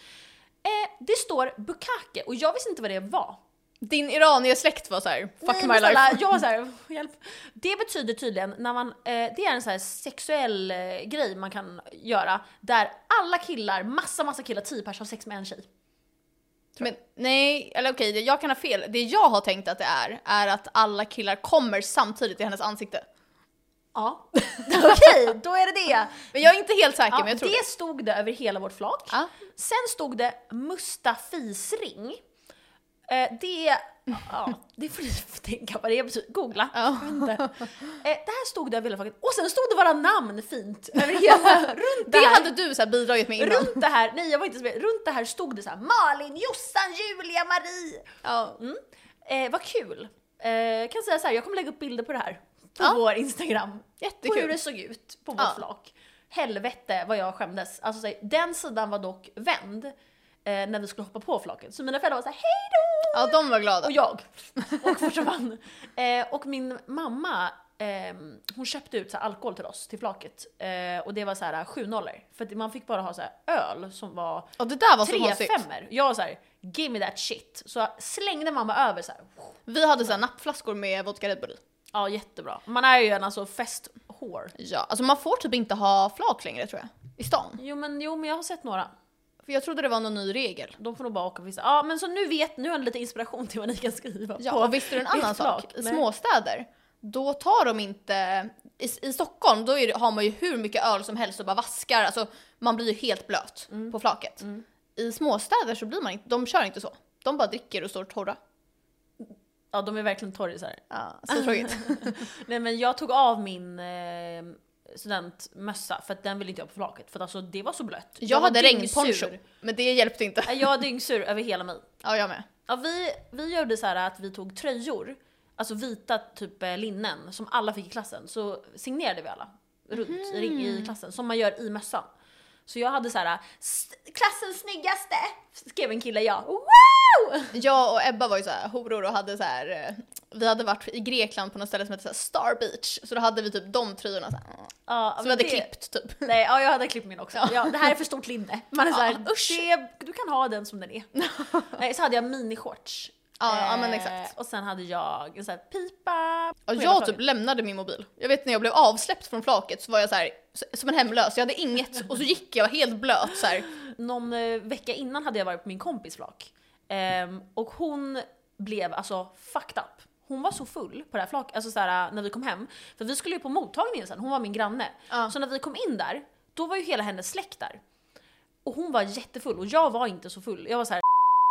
B: Eh, det står bukake och jag visste inte vad det var.
A: Din iranier-släkt var så här, fuck
B: Nej,
A: my
B: men
A: life.
B: snälla, Jag var så här, hjälp. Det betyder tydligen när man, eh, det är en så här sexuell eh, grej man kan göra där alla killar, massa massa killar, 10 pers har sex med en tjej.
A: Men, nej, eller okej, det- jag kan ha fel. Det jag har tänkt att det är, är att alla killar kommer samtidigt i hennes ansikte.
B: Ja. Okej, då är det det.
A: Men jag är inte helt säker,
B: Ja,
A: men jag tror det.
B: det stod det över hela vårt flak.
A: Ja.
B: Sen stod det Mustafisring. Eh, det, ja, det får ni tänka vad det betyder. Googla.
A: Ja.
B: Jag vet inte. Eh, det här stod det över hela flaket. Och sen stod det våra namn fint över hela, runt det
A: Det
B: här.
A: hade du så här bidragit med innan.
B: Runt det här, nej jag var inte så med, runt det här stod det så här Malin, Jossan, Julia, Marie.
A: Ja.
B: Mm. Eh, vad kul. Eh, kan säga så här, jag kommer lägga upp bilder på det här. På
A: Ja.
B: vår Instagram.
A: Jättekul.
B: På hur det såg ut på vårt
A: Ja.
B: flak. Helvete vad jag skämdes. Alltså, så här, den sidan var dock vänd eh, när vi skulle hoppa på flaket. Så mina föräldrar var så här, hej då!
A: ja, de var glada.
B: Och jag. Och försvann. eh, och min mamma, ehm, hon köpte ut så här, alkohol till oss, till flaket. Eh, och det var så här 7 nollor. För att man fick bara ha så här, öl som var
A: Och det där var så
B: tre
A: konstigt.
B: femmor. Jag var så här, give me that shit. Så slängde mamma över så här.
A: Vi hade så här nappflaskor med vodka Red Bull i.
B: Ja, jättebra. Man är ju en alltså festhår.
A: Ja, alltså man får typ inte ha flak längre tror jag. I stan.
B: Jo men, jo men jag har sett några.
A: För jag trodde det var någon ny regel.
B: De får nog bara åka på vissa. Ja men så nu vet, nu har ni lite inspiration till vad ni kan skriva på.
A: Ja, och visste du en
B: ditt
A: annan sak?
B: flak?
A: I
B: Nej.
A: småstäder, då tar de inte... I, i Stockholm då är, det- har man ju hur mycket öl som helst och bara vaskar, alltså man blir ju helt blöt på flaket. I småstäder så blir man inte, de kör inte så. De bara dricker och står torra.
B: Ja de är verkligen torrisar.
A: Ja, så tråkigt.
B: Nej men jag tog av min eh, studentmössa för att den ville inte jag ha på flaket. För att alltså det var så blött.
A: Jag,
B: var
A: hade
B: dyngsur.
A: regnponcho, men det hjälpte inte.
B: Nej, Jag var dyngsur över hela mig.
A: Ja, jag med.
B: Ja, vi, vi gjorde så här att vi tog tröjor, alltså vita typ eh, linnen som alla fick i klassen. Så signerade vi alla runt i, ring-
A: Mhm.
B: i klassen, som man gör i mössan. Så jag hade så här, "S- klassens snyggaste, skrev en kille jag. Wow!
A: Jag och Ebba var ju så här horor och hade så här. eh, Vi hade varit i Grekland på något ställe som hette så här Star Beach, så då hade vi typ de tröjorna så här.
B: Ja,
A: Som vi
B: men
A: hade
B: det-
A: klippt typ.
B: Nej, ja, jag hade klippt min också. Ja. det här är för stort linne. Man är så här,
A: Ja, usch.
B: det, du kan ha den som den är. Nej, så hade jag minishorts. Eh,
A: Ja, ja, men exakt.
B: Och sen hade jag en sån här pipa.
A: Ja,
B: på
A: jag
B: ena
A: typ
B: taget.
A: lämnade min mobil. Jag vet när jag blev avsläppt från flaket så var jag så här s- som en hemlös, jag hade inget och så gick jag helt blöt så här.
B: Någon eh, vecka innan hade jag varit på min kompis flak. Ehm, och hon blev alltså fucked up. Hon var så full på det här flaket, alltså såhär, när vi kom hem. För vi skulle ju på mottagningen sen, hon var min granne.
A: Ja.
B: Så när vi kom in där, då var ju hela hennes släkt där. Och hon var jättefull och jag var inte så full. Jag var så här.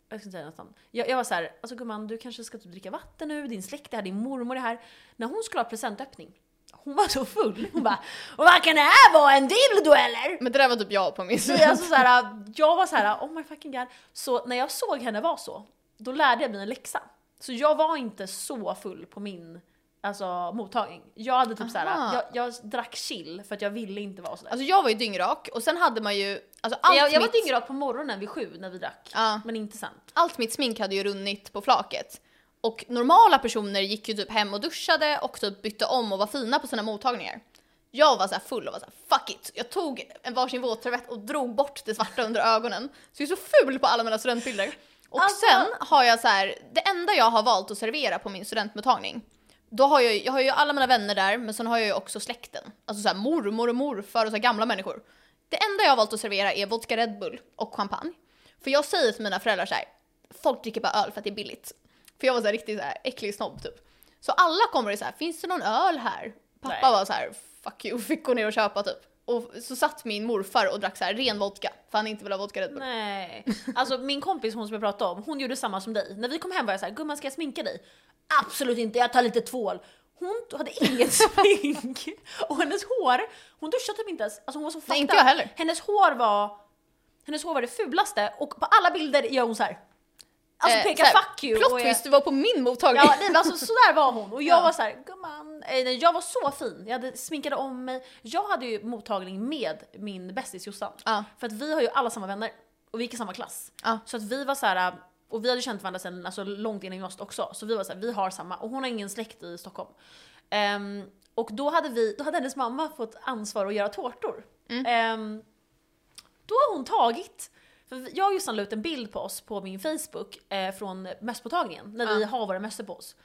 B: Jag ska inte säga något namn. Jag, jag var så här, alltså gumman du kanske ska typ dricka vatten nu, din släkt är här, din mormor är här. När hon skulle ha presentöppning, hon var så full. Hon bara Vad kan det här vara? En dildo eller?
A: Men det där var typ jag på min
B: Så jag,
A: sida.
B: alltså så här, jag var så här, oh my fucking god. Så när jag såg henne vara så, då lärde jag mig en läxa. Så jag var inte så full på min alltså, mottagning. Jag hade typ såhär,
A: Aha.
B: jag, jag drack chill för att jag ville inte vara sådär.
A: Alltså jag var ju dyngrak och sen hade man ju, alltså allt,
B: jag, jag var
A: mitt,
B: dyngrak på morgonen vid sju när vi drack.
A: Ja.
B: Men inte sen.
A: allt mitt smink hade ju runnit på flaket. Och normala personer gick ju typ hem och duschade och typ bytte om och var fina på sina mottagningar. Jag var så här full och var så här, fuck it. Jag tog en varsin våtservett och drog bort det svarta under ögonen. Så jag är så ful på alla mina studentbilder. Och
B: Alltså-
A: sen har jag så här, det enda jag har valt att servera på min studentmottagning, då har jag, ju- jag har ju alla mina vänner där men sen har jag ju också släkten. Alltså så här, mormor och morfar och så här, gamla människor. Det enda jag har valt att servera är vodka Red Bull och champagne. För jag säger till mina föräldrar så här, folk dricker bara öl för att det är billigt. För jag var så här riktigt så här äcklig snobb typ. Så alla kommer och så här, finns det någon öl här? Pappa
B: Nej.
A: var så här, fuck you, fick gå ner och köpa typ. Och så satt min morfar och drack så här ren vodka, för han inte ville ha vodka Red Bull.
B: Nej. Alltså min kompis, hon som jag pratade om, hon gjorde samma som dig. När vi kom hem var jag såhär, gumman ska jag sminka dig? Absolut inte, jag tar lite tvål. Hon t- hade inget smink. Och hennes hår, hon duschade typ inte ens. Alltså hon var så fucked
A: inte
B: up.
A: jag heller.
B: Hennes hår var, hennes hår var det fulaste och på alla bilder gör hon så här. Alltså
A: Eh,
B: pekar
A: så här,
B: fuck you. och
A: Plot
B: är-
A: twist, du var på min mottagning.
B: Ja, nej, men alltså sådär var hon. Och jag
A: Ja.
B: var så här, gumman. eh, Nej, jag var så fin. Jag hade sminkade om mig. Jag hade ju mottagning med min bästis Jossan.
A: Ja.
B: För att vi har ju alla samma vänner. Och vi gick i samma klass.
A: Ja.
B: Så att vi var så här. Och vi hade känt varandra sedan alltså, långt innan gymnasiet också. Så vi var så här, vi har samma. Och hon har ingen släkt i Stockholm. Ehm, och då hade, vi, då hade hennes mamma fått ansvar att göra tårtor.
A: Mm.
B: Ehm, då har hon tagit, för vi- jag och Jossan la ut en bild på oss på min Facebook eh, från mösspåtagningen, när vi
A: Ja.
B: har våra mössor på oss.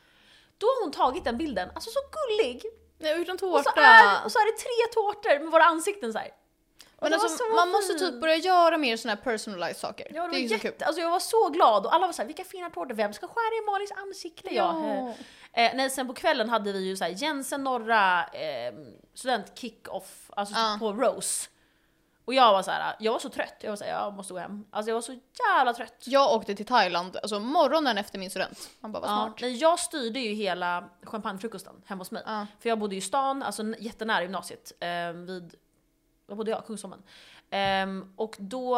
B: Då har hon tagit den bilden, alltså så gullig!
A: Nej, utan
B: Och så,
A: tårta.
B: är, och så är det tre tårtor med våra ansikten så här. Och
A: men
B: det var
A: alltså,
B: så
A: man måste
B: fint.
A: typ börja göra mer såna här personalized saker.
B: Ja, det var
A: är ju så kul.
B: jätte, alltså jag var så glad och alla var såhär, vilka fina tårtor, vem ska skära i Malins ansikte? Jag,
A: Ja.
B: Eh, nej, sen på kvällen hade vi ju så här Jensen norra eh, student kick-off, alltså
A: Ja.
B: typ på Rose. Och jag var så här, jag var så trött, jag var så här, jag måste gå hem. Alltså jag var så jävla trött.
A: Jag åkte till Thailand, alltså morgonen efter min student. Man bara, vad
B: Ja,
A: smart.
B: nej, jag styrde ju hela champagnefrukosten hemma hos mig.
A: Ja.
B: För jag bodde ju i stan, alltså n- jättenära gymnasiet. Eh, vid, vad bodde jag? Kungsholmen. Ehm, och då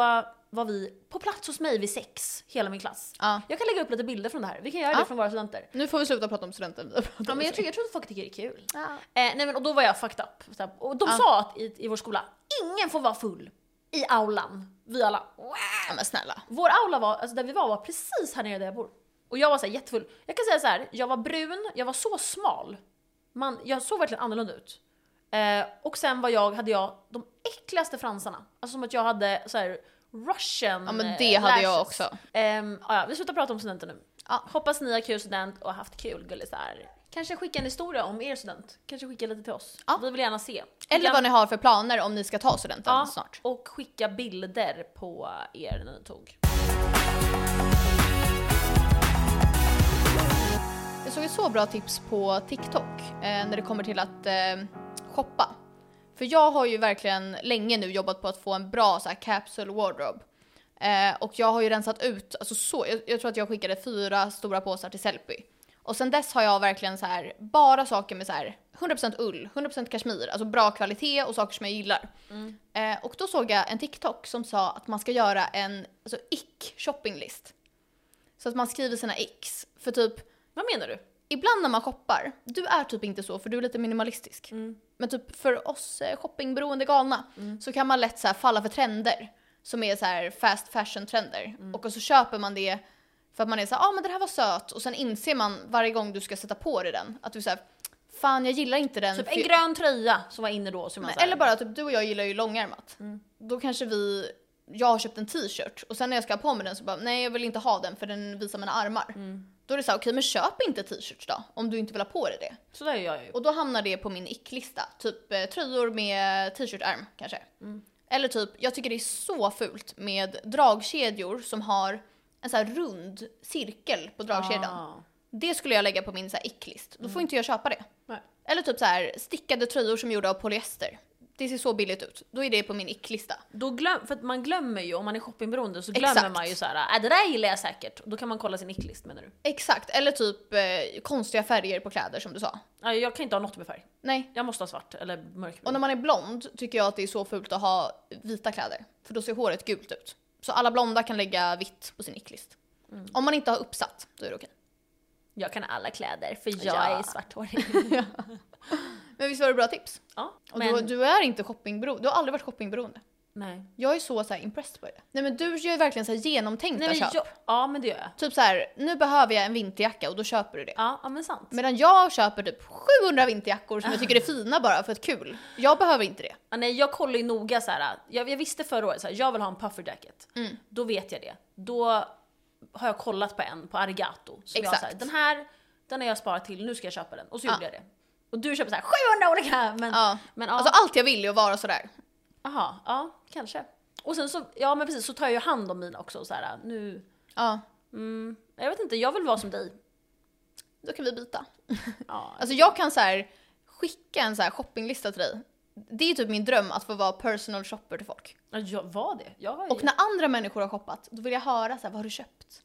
B: var vi på plats hos mig vid sex, hela min klass.
A: Ja.
B: Jag kan lägga upp lite bilder från det här, vi kan göra
A: Ja.
B: det från våra studenter.
A: Nu får vi sluta prata om studenten. Vi har pratat
B: Ja,
A: om
B: men jag,
A: det.
B: tror, jag tror att folk tycker det är kul.
A: Ja.
B: Eh, nej men och då var jag fucked up. Så här, Och de
A: Ja.
B: sa att i, i vår skola, ingen får vara full i aulan. Vi alla.
A: Ja, men snälla.
B: Vår aula var, alltså där vi var var precis här nere där jag bor. Och jag var så här jättefull. Jag kan säga så här, jag var brun, jag var så smal. Man, jag såg verkligen annorlunda ut. Eh, och sen var jag, hade jag de äckligaste fransarna. Alltså som att jag hade så här russian
A: Ja, men
B: eh,
A: det hade jag
B: lashes.
A: också.
B: Ehm, ja, ja, vi slutar prata om studenter nu.
A: Ja.
B: Hoppas ni har kul student och har haft kul gullisar. Kanske skicka en historia om er student. Kanske skicka lite till oss.
A: Ja.
B: Vi vill gärna se.
A: Eller vad ni har för planer om ni ska ta studenten
B: ja,
A: snart.
B: Och skicka bilder på er när ni tog.
A: Jag såg ett så bra tips på TikTok eh, när det kommer till att eh, shoppa. För jag har ju verkligen länge nu jobbat på att få en bra så här, capsule wardrobe. Eh, och jag har ju rensat ut, alltså så, jag, jag tror att jag skickade fyra stora påsar till Sellpy. Och sen dess har jag verkligen så här, bara saker med så här 100% ull, 100% kashmir, alltså bra kvalitet och saker som jag gillar. Eh, och då såg jag en TikTok som sa att man ska göra en alltså, ick-shoppinglist. Så att man skriver sina icks. För typ,
B: Vad menar du?
A: ibland när man shoppar, du är typ inte så för du är lite minimalistisk.
B: Mm.
A: Men typ för oss eh, shoppingberoende galna så kan man lätt så här falla för trender som är så här fast fashion trender.
B: Mm.
A: Och så köper man det för att man är så här, ah men den här var söt och sen inser man varje gång du ska sätta på dig den att du säger fan jag gillar inte den.
B: Typ
A: för
B: en
A: jag-
B: grön tröja som var inne då. Som jag
A: Nej,
B: så här- Mm.
A: eller bara typ du och jag gillar ju långärmat. Då kanske vi, jag har köpt en t-shirt och sen när jag ska ha på mig den så bara nej jag vill inte ha den för den visar mina armar.
B: Mm.
A: Då är det så här, okej men köp inte t-shirts då om du inte vill ha på dig det.
B: Så där gör jag ju.
A: Och då hamnar det på min icklista. Typ eh, tröjor med t-shirtärm kanske.
B: Mm.
A: Eller typ, jag tycker det är så fult med dragkedjor som har en så här rund cirkel på dragkedjan.
B: Ah.
A: Det skulle jag lägga på min så här icklist. Då får inte jag köpa det.
B: Mm. Nej.
A: Eller typ så här stickade tröjor som är gjorda av polyester. Det ser så billigt ut. Då är det på min icklista.
B: Då glöm, för att man glömmer ju, om man är shoppingberoende så glömmer
A: Exakt.
B: man ju såhär, äh, det där gillar jag säkert. Då kan man kolla sin icklist menar du?
A: Exakt, eller typ eh, konstiga färger på kläder som du sa.
B: Ja, jag kan inte ha något med färg.
A: Nej.
B: Jag måste ha svart eller
A: Och
B: mörkbrun.
A: när man är blond tycker jag att det är så fult att ha vita kläder. För då ser håret gult ut.
B: Mm.
A: Så alla blonda kan lägga vitt på sin icklist. Om man inte har uppsatt, då är det okej.
B: Jag kan alla kläder för jag
A: Ja.
B: är svarthårig.
A: Men visst var det bra tips?
B: Ja,
A: Och
B: men,
A: du, du är inte shoppingberoende, du har aldrig varit shoppingberoende.
B: nej.
A: Jag är så, så här, impressed på det. Nej men du gör ju verkligen så här genomtänkta
B: nej men
A: köp.
B: jag, ja men det gör jag.
A: Typ så här, nu behöver jag en vinterjacka och då köper du det.
B: Ja, ja men sant.
A: Medan jag köper typ 700 vinterjackor som jag tycker är fina bara för att kul. Jag behöver inte det.
B: Ja, nej, jag kollar ju noga så här. Jag, jag visste förra året så här, jag vill ha en puffer jacket.
A: Mm.
B: Då vet jag det. Då har jag kollat på en på Arigato. Som jag
A: Exakt.
B: så här, den här den har jag sparat till, nu ska jag köpa den. Och så
A: Ja.
B: gjorde jag det. Och du köper så här 700 olika! Men,
A: Ja.
B: men ja,
A: Alltså allt jag vill är att vara sådär.
B: aha, ja, kanske. Och sen så, ja men precis, så tar jag ju hand om mina också så här, nu,
A: Ja,
B: mm, jag vet inte, jag vill vara som dig.
A: då kan vi byta.
B: Ja,
A: Alltså jag kan så här skicka en så här shoppinglista till dig. Det är typ min dröm att få vara personal shopper till folk.
B: ja, jag var det. Jag har ju,
A: Och när andra människor har shoppat, då vill jag höra så här, vad har du köpt?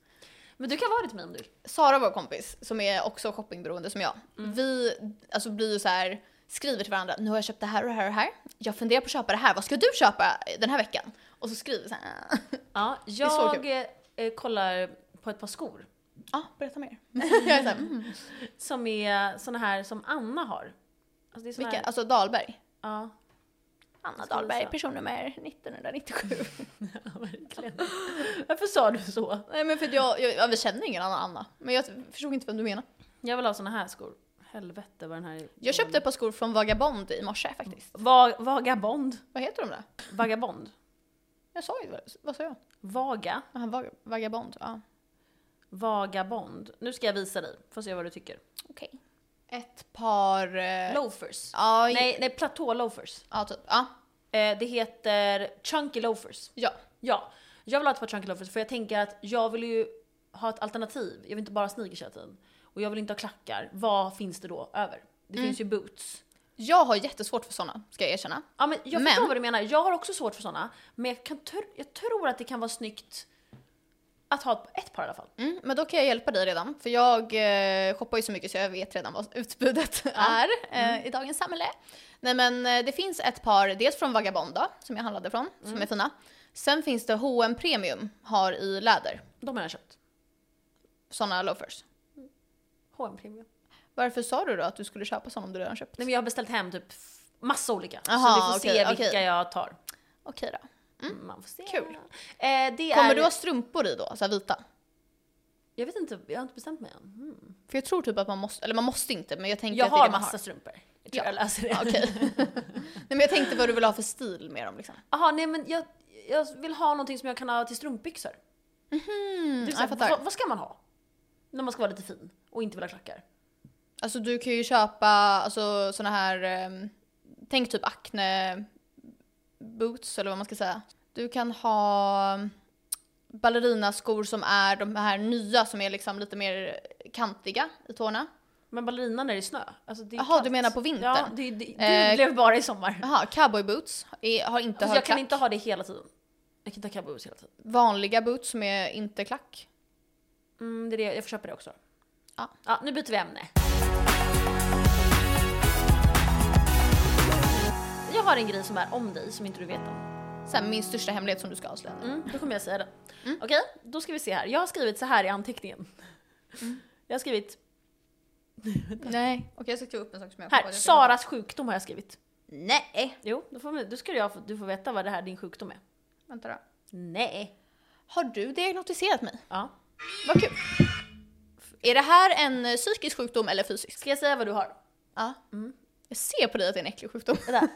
B: men du kan vara det till mig om du vill.
A: Sara, vår kompis, som är också shoppingberoende som jag, vi alltså, blir ju så här, skriver till varandra, nu har jag köpt det här och det här och det här. Jag funderar på att köpa det här, vad ska du köpa den här veckan? Och så skriver vi så här,
B: Ja,
A: så
B: jag eh, kollar på ett par skor.
A: ja, berätta mer. jag är så här, mm,
B: Som är såna här som Anna har. Alltså det är såna
A: vilka,
B: här,
A: alltså Dahlberg.
B: ja.
A: Anna
B: Skulle
A: Dahlberg,
B: säga.
A: personnummer 1997.
B: verkligen. Varför sa du så?
A: Nej men för att jag, jag, ja, vi känner ingen annan Anna, men jag förstod inte vem du menar.
B: Jag vill ha såna här skor. Helvete vad den här är.
A: Jag köpte ett par skor från Vagabond i morse faktiskt.
B: Va- vagabond.
A: Vad heter de då?
B: Vagabond.
A: Jag sa ju, vad sa jag?
B: Vaga.
A: Aha, vag, vagabond, ja.
B: Vagabond. Nu ska jag visa dig. Får se vad du tycker.
A: Okej. Ett par... eh,
B: Loafers.
A: Ja,
B: Nej, nej platå loafers.
A: Ja, typ. Ja.
B: Eh, det heter chunky loafers.
A: ja.
B: Ja. Jag vill ha ett par chunky loafers för jag tänker att jag vill ju ha ett alternativ. Jag vill inte bara ha sneakers hela tiden. Och jag vill inte ha klackar. Vad finns det då över? Det
A: Mm.
B: finns ju boots.
A: Jag har jättesvårt för sådana, ska jag erkänna.
B: Ja, men jag
A: Men-
B: förstår vad du menar. Jag har också svårt för såna. Men jag, kan tr- jag tror att det kan vara snyggt att ha ett par i alla fall.
A: Mm, men då kan jag hjälpa dig redan, för jag eh, shoppar ju så mycket så jag vet redan vad utbudet är
B: Mm.
A: eh, i dagens samhälle. Nej men eh, det finns ett par, dels från Vagabonda, som jag handlade från,
B: Mm.
A: som är fina. Sen finns det H&M Premium, har i läder,
B: De har jag köpt.
A: sådana loafers.
B: H&M Premium.
A: Varför sa du då att du skulle köpa sådana om du redan köpt?
B: Nej men jag har beställt hem typ f- massa olika.
A: Aha,
B: så vi får
A: okej,
B: se vilka
A: okej.
B: jag tar.
A: Okej då.
B: Man får se.
A: Kul.
B: Eh, det
A: Kommer
B: är...
A: du ha strumpor i då, så här vita?
B: Jag vet inte, jag har inte bestämt mig än. Mm.
A: För jag tror typ att man måste, eller man måste inte, men jag tänker
B: Jag
A: att det
B: har
A: är det man
B: massa strumpor. Jag tror
A: Ja.
B: jag löser det.
A: har. Okej. Nej men jag tänkte vad du vill ha för stil med dem liksom.
B: Jaha, nej men jag, jag vill ha någonting som jag kan ha till strumpbyxor.
A: Mm,
B: Det är
A: ja,
B: så här,
A: jag fattar.
B: vad, vad ska man ha? När man ska vara lite fin och inte vill ha klackar.
A: Alltså du kan ju köpa alltså, såna här, ehm, tänk typ Acne boots eller vad man ska säga. Du kan ha ehm, ballerinaskor som är de här nya som är liksom lite mer kantiga i tårna.
B: Men ballerinan är i snö. Alltså det är
A: Jaha,
B: kallt.
A: du menar på
B: Ja,
A: vintern?
B: det, det, det
A: Eh,
B: blev bara i sommar.
A: Jaha, cowboy boots är, har inte
B: Alltså,
A: hög
B: jag kan
A: klack.
B: inte ha det hela tiden. Jag kan inte ha cowboys hela tiden.
A: Vanliga boots som är inte klack.
B: Mm, det är det. Jag får köpa det också.
A: Ja.
B: nu byter vi ämne. Jag har en grej som är om dig som inte du vet om.
A: Sen min största hemlighet som du ska avslöja nu.
B: Mm, då kommer jag säga det. Okej, då ska vi se här. Jag har skrivit så här i anteckningen.
A: Mm.
B: Jag har skrivit
A: Nej. Mm. Okej jag ska skriva upp en sak som jag
B: här, Saras sjukdom har jag skrivit.
A: Nej.
B: Jo, då, får, vi- då ska jag, få- du få veta vad det här din sjukdom är.
A: Vänta då.
B: Nej.
A: Har du diagnostiserat mig?
B: Ja.
A: Vad kul. Är det här en eh, psykisk sjukdom eller fysisk?
B: Ska jag säga vad du har?
A: Ja. Mm. Jag ser på dig att det är en äcklig sjukdom.
B: Vänta.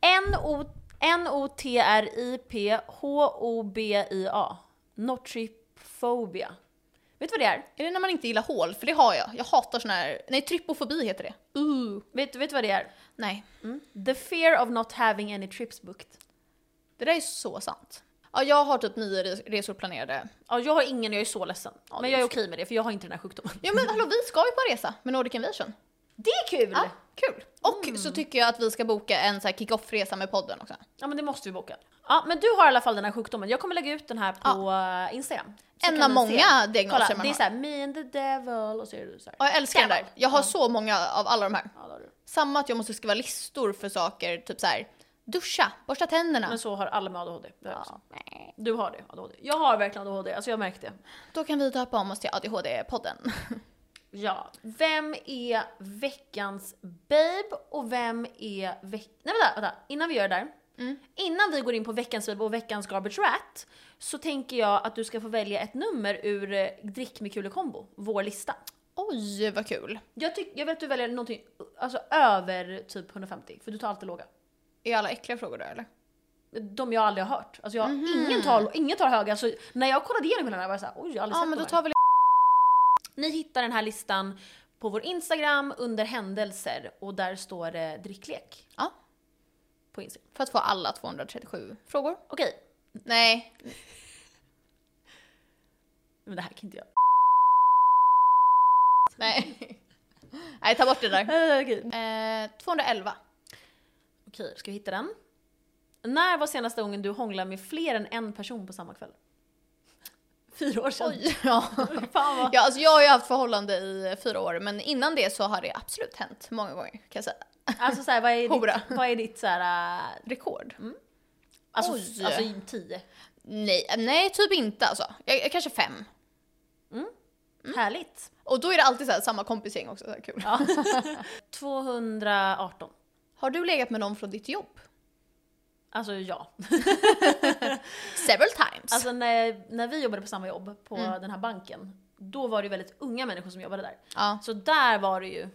B: N-O- N-O-T-R-I-P-H-O-B-I-A. Notriphobia. Vet du vad det är?
A: Är det när man inte gillar hål? För det har jag. Jag hatar sån här... Nej, trypofobi heter det. Uh.
B: Vet, vet du vad det är?
A: Nej.
B: The fear of not having any trips booked.
A: Det där är så sant. Ja, jag har typ nio res- resor planerade.
B: Ja, jag har ingen och jag är så ledsen.
A: Ja,
B: men
A: det
B: jag är
A: är
B: okej med det för jag har inte den här sjukdomen.
A: Ja men hallå, vi ska ju på en resa med Nordic Invasion.
B: Det är kul!
A: Ja,
B: Ja,
A: kul. Och så tycker jag att vi ska boka en så här kick-off-resa med podden också.
B: men det måste vi boka. Ja, men du har i alla fall den här sjukdomen. Jag kommer lägga ut den här på eh, Instagram. Så
A: En
B: kan
A: av
B: ni
A: många
B: se.
A: diagnoser
B: Kolla,
A: man
B: det är
A: har.
B: såhär me and the devil och så är det såhär.
A: Ja, jag älskar den där.
B: Stämmer.
A: Jag har så många av alla de här.
B: Ja, det har du.
A: Samma att jag måste skriva listor för saker, typ så här. Duscha, borsta tänderna.
B: Men så har alla med ADHD. Det har jag också. Du har det, ADHD. Jag har verkligen ADHD, alltså jag har märkt det.
A: Då kan vi döpa om oss till ADHD-podden.
B: Ja, vem är veckans babe och vem är veck... Nej vänta, vänta, innan vi gör det där.
A: Mm.
B: Innan vi går in på veckans babe och veckans garbage rat så tänker jag att du ska få välja ett nummer ur eh, Drick med kul kombo, vår lista.
A: Oj, vad kul.
B: Jag, tyck, jag vill att du väljer någonting alltså, över typ 150, för du tar alltid låga.
A: Är alla äckliga frågor då eller?
B: De jag aldrig har hört. Alltså jag,
A: Mhm.
B: ingen, tar, ingen tar höga. Så när jag kollade igenom hela den här var jag såhär, oj jag har aldrig
A: Ja,
B: sett
A: men
B: de
A: då
B: här.
A: tar vi
B: Ni hittar den här listan på vår Instagram under händelser och där står det dricklek.
A: Ja.
B: På Instagram.
A: för att få alla 237 frågor.
B: Okej,
A: Nej,
B: men det här kan inte jag.
A: nej. nej, ta bort det där.
B: Eh, Okej,
A: Eh, 211.
B: Okej, ska vi hitta den? När var senaste gången du hånglade med fler än en person på samma kväll? Fyra år sedan.
A: Oj, ja.
B: Fan vad...
A: ja alltså jag har ju haft förhållande i fyra år men innan det så har det absolut hänt många gånger kan jag säga.
B: Alltså såhär, vad är
A: Hora.
B: ditt, vad är ditt såhär... äh,
A: Rekord.
B: Alltså,
A: Oj.
B: alltså i tio.
A: Nej, nej typ inte alltså. Jag, jag, kanske fem.
B: Mm. Härligt.
A: Och då är det alltid så här, samma kompisgäng också, så här kul.
B: Ja. 218.
A: Har du legat med någon från ditt jobb?
B: Alltså ja.
A: Several times.
B: Alltså när, när vi jobbade på samma jobb på
A: Mm.
B: den här banken, då var det ju väldigt unga människor som jobbade där.
A: ja.
B: Så där var det ju,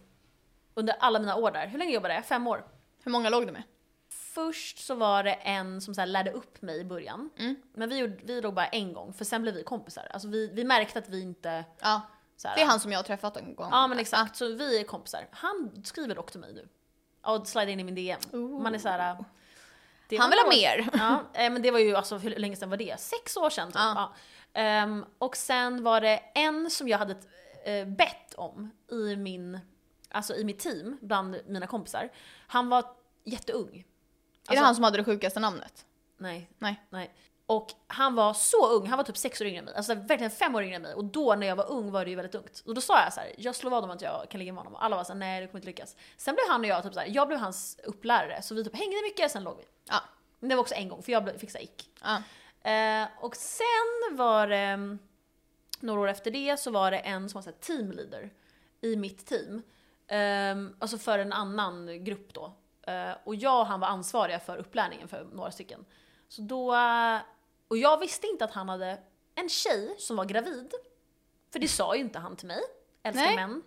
B: under alla mina år där, hur länge jobbade jag? Fem år.
A: Hur många låg du med?
B: Först så var det en som så här lärde upp mig i början.
A: Mm.
B: Men vi, gjorde- vi låg bara en gång, för sen blev vi kompisar. Alltså vi, vi märkte att vi inte...
A: Ja,
B: Så här,
A: det är han som jag har träffat en gång.
B: Ja men exakt, så vi är kompisar. Han skriver dock till mig nu. Och slide in i min DM. Man är såhär... det
A: Han
B: var
A: vill ha
B: några år
A: mer.
B: Ja, eh, men det var ju alltså, hur länge sedan var det? Sex år sedan typ.
A: Ja.
B: Ja. Ehm, och sen var det en som jag hade ett eh, bett om i min, alltså i mitt team, bland mina kompisar. Han var jätteung.
A: är det
B: Alltså-
A: han som hade det sjukaste namnet?
B: Nej.
A: Nej.
B: Nej. Och han var så ung, han var typ sex år yngre än mig. Alltså verkligen fem år yngre än mig. Och då när jag var ung var det ju väldigt ungt. Och då sa jag så här: jag slår vad om att jag kan ligga med honom. Och alla var såhär, nej det kommer inte lyckas. Sen blev han och jag typ såhär, jag blev hans upplärare. Så vi typ hängde mycket, sen låg vi.
A: Ja.
B: Men det var också en gång, för jag blev- fick såhär ick.
A: ja.
B: Eh, och sen var det, mm, några år efter det så var det en som var så här teamleader i mitt team. Ehm, alltså för en annan grupp då. Eh, och jag och han var ansvariga för upplärningen för några stycken. Så då, eh, och jag visste inte att han hade en tjej som var gravid. För det sa ju inte han till mig. Älskar
A: Nej.
B: män.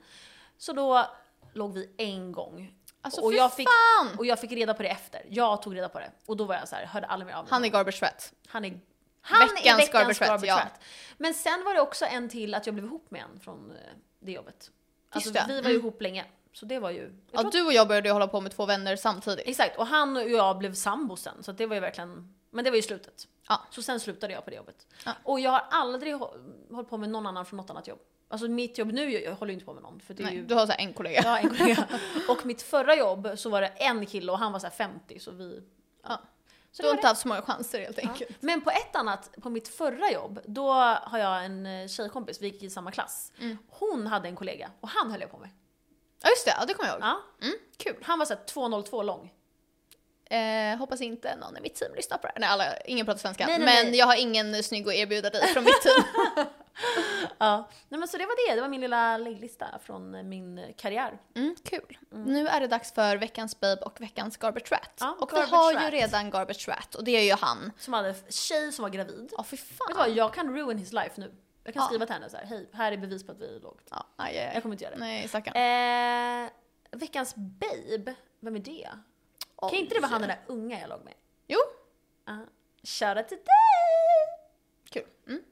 B: Så då låg vi en gång.
A: Alltså
B: och,
A: fy
B: jag fick,
A: fan!
B: och jag fick reda på det efter. Jag tog reda på det. Och då var jag så här, hörde aldrig mer av mig.
A: Han är garbage fat.
B: Han är, han är
A: Veckans
B: veckans garbage
A: garbage rat, ja.
B: rat. Men sen var det också en till att jag blev ihop med en från eh, det jobbet. Alltså,
A: det.
B: vi var ju
A: Mm.
B: ihop länge. Så det var ju... Jag
A: Ja,
B: tror att,
A: du och jag började ju hålla på med två vänner samtidigt.
B: exakt, och han och jag blev sambo sen. Så att det var ju verkligen... Men det var ju slutet.
A: Ja.
B: Så sen slutade jag på det jobbet.
A: Ja.
B: Och jag har aldrig hå- hållit på med någon annan från något annat jobb. Alltså mitt jobb nu, jag, jag håller ju inte på med någon. För det är
A: Nej,
B: ju,
A: du har så här en kollega.
B: jag har en kollega. Och mitt förra jobb så var det en kille och han var så här 50 så vi...
A: Ja.
B: Så det
A: du har
B: var
A: inte haft så många chanser helt enkelt.
B: Men på ett annat, på mitt förra jobb, då har jag en eh, tjejkompis, vi gick i samma klass.
A: Mm.
B: Hon hade en kollega och han höll jag på med.
A: Ja just det, ja, det kommer jag ihåg.
B: Ja.
A: Mm, kul.
B: Han var såhär 2,02 lång.
A: Eh, hoppas inte någon i mitt team lyssnar på det här. Nej, alla, ingen pratar svenska.
B: Nej, nej,
A: men
B: nej.
A: jag har ingen snygg att erbjuda dig från mitt team.
B: Ja. Nej men så det var det, det var min lilla lägglista från eh, min eh, karriär.
A: Mm, kul. Nu är det dags för veckans babe och veckans garbage rat.
B: Ja,
A: och
B: garbage
A: vi har
B: rat.
A: ju redan garbage rat och det är ju han.
B: Som hade en tjej som var gravid.
A: Ja fy
B: Vet du vad,
A: fan.
B: jag kan ruin his life nu. Jag kan
A: Ja.
B: skriva till henne såhär, hej, här är bevis på att vi låg.
A: Ja, aj, aj,
B: Jag
A: aj.
B: kommer inte göra det.
A: Nej stackarn.
B: Eh, veckans babe, vem är det? Eh, Kan inte det vara han den där unga jag låg med?
A: Jo,
B: Uh, shoutout till dig!
A: kul. Mm.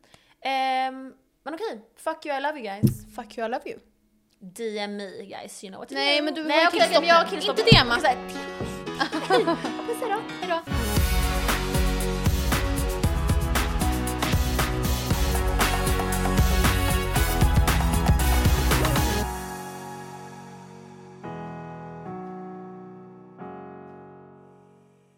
B: Ehm, men okej, fuck you I love you guys.
A: Fuck you I love you.
B: DM me guys, you know what to
A: Nej
B: do.
A: men du
B: Nej,
A: har ju
B: okej, men jag har
A: killstoppen.
B: killstoppen.
A: Inte det
B: Jag kan säga,
A: man.
B: Puss hejdå, hejdå.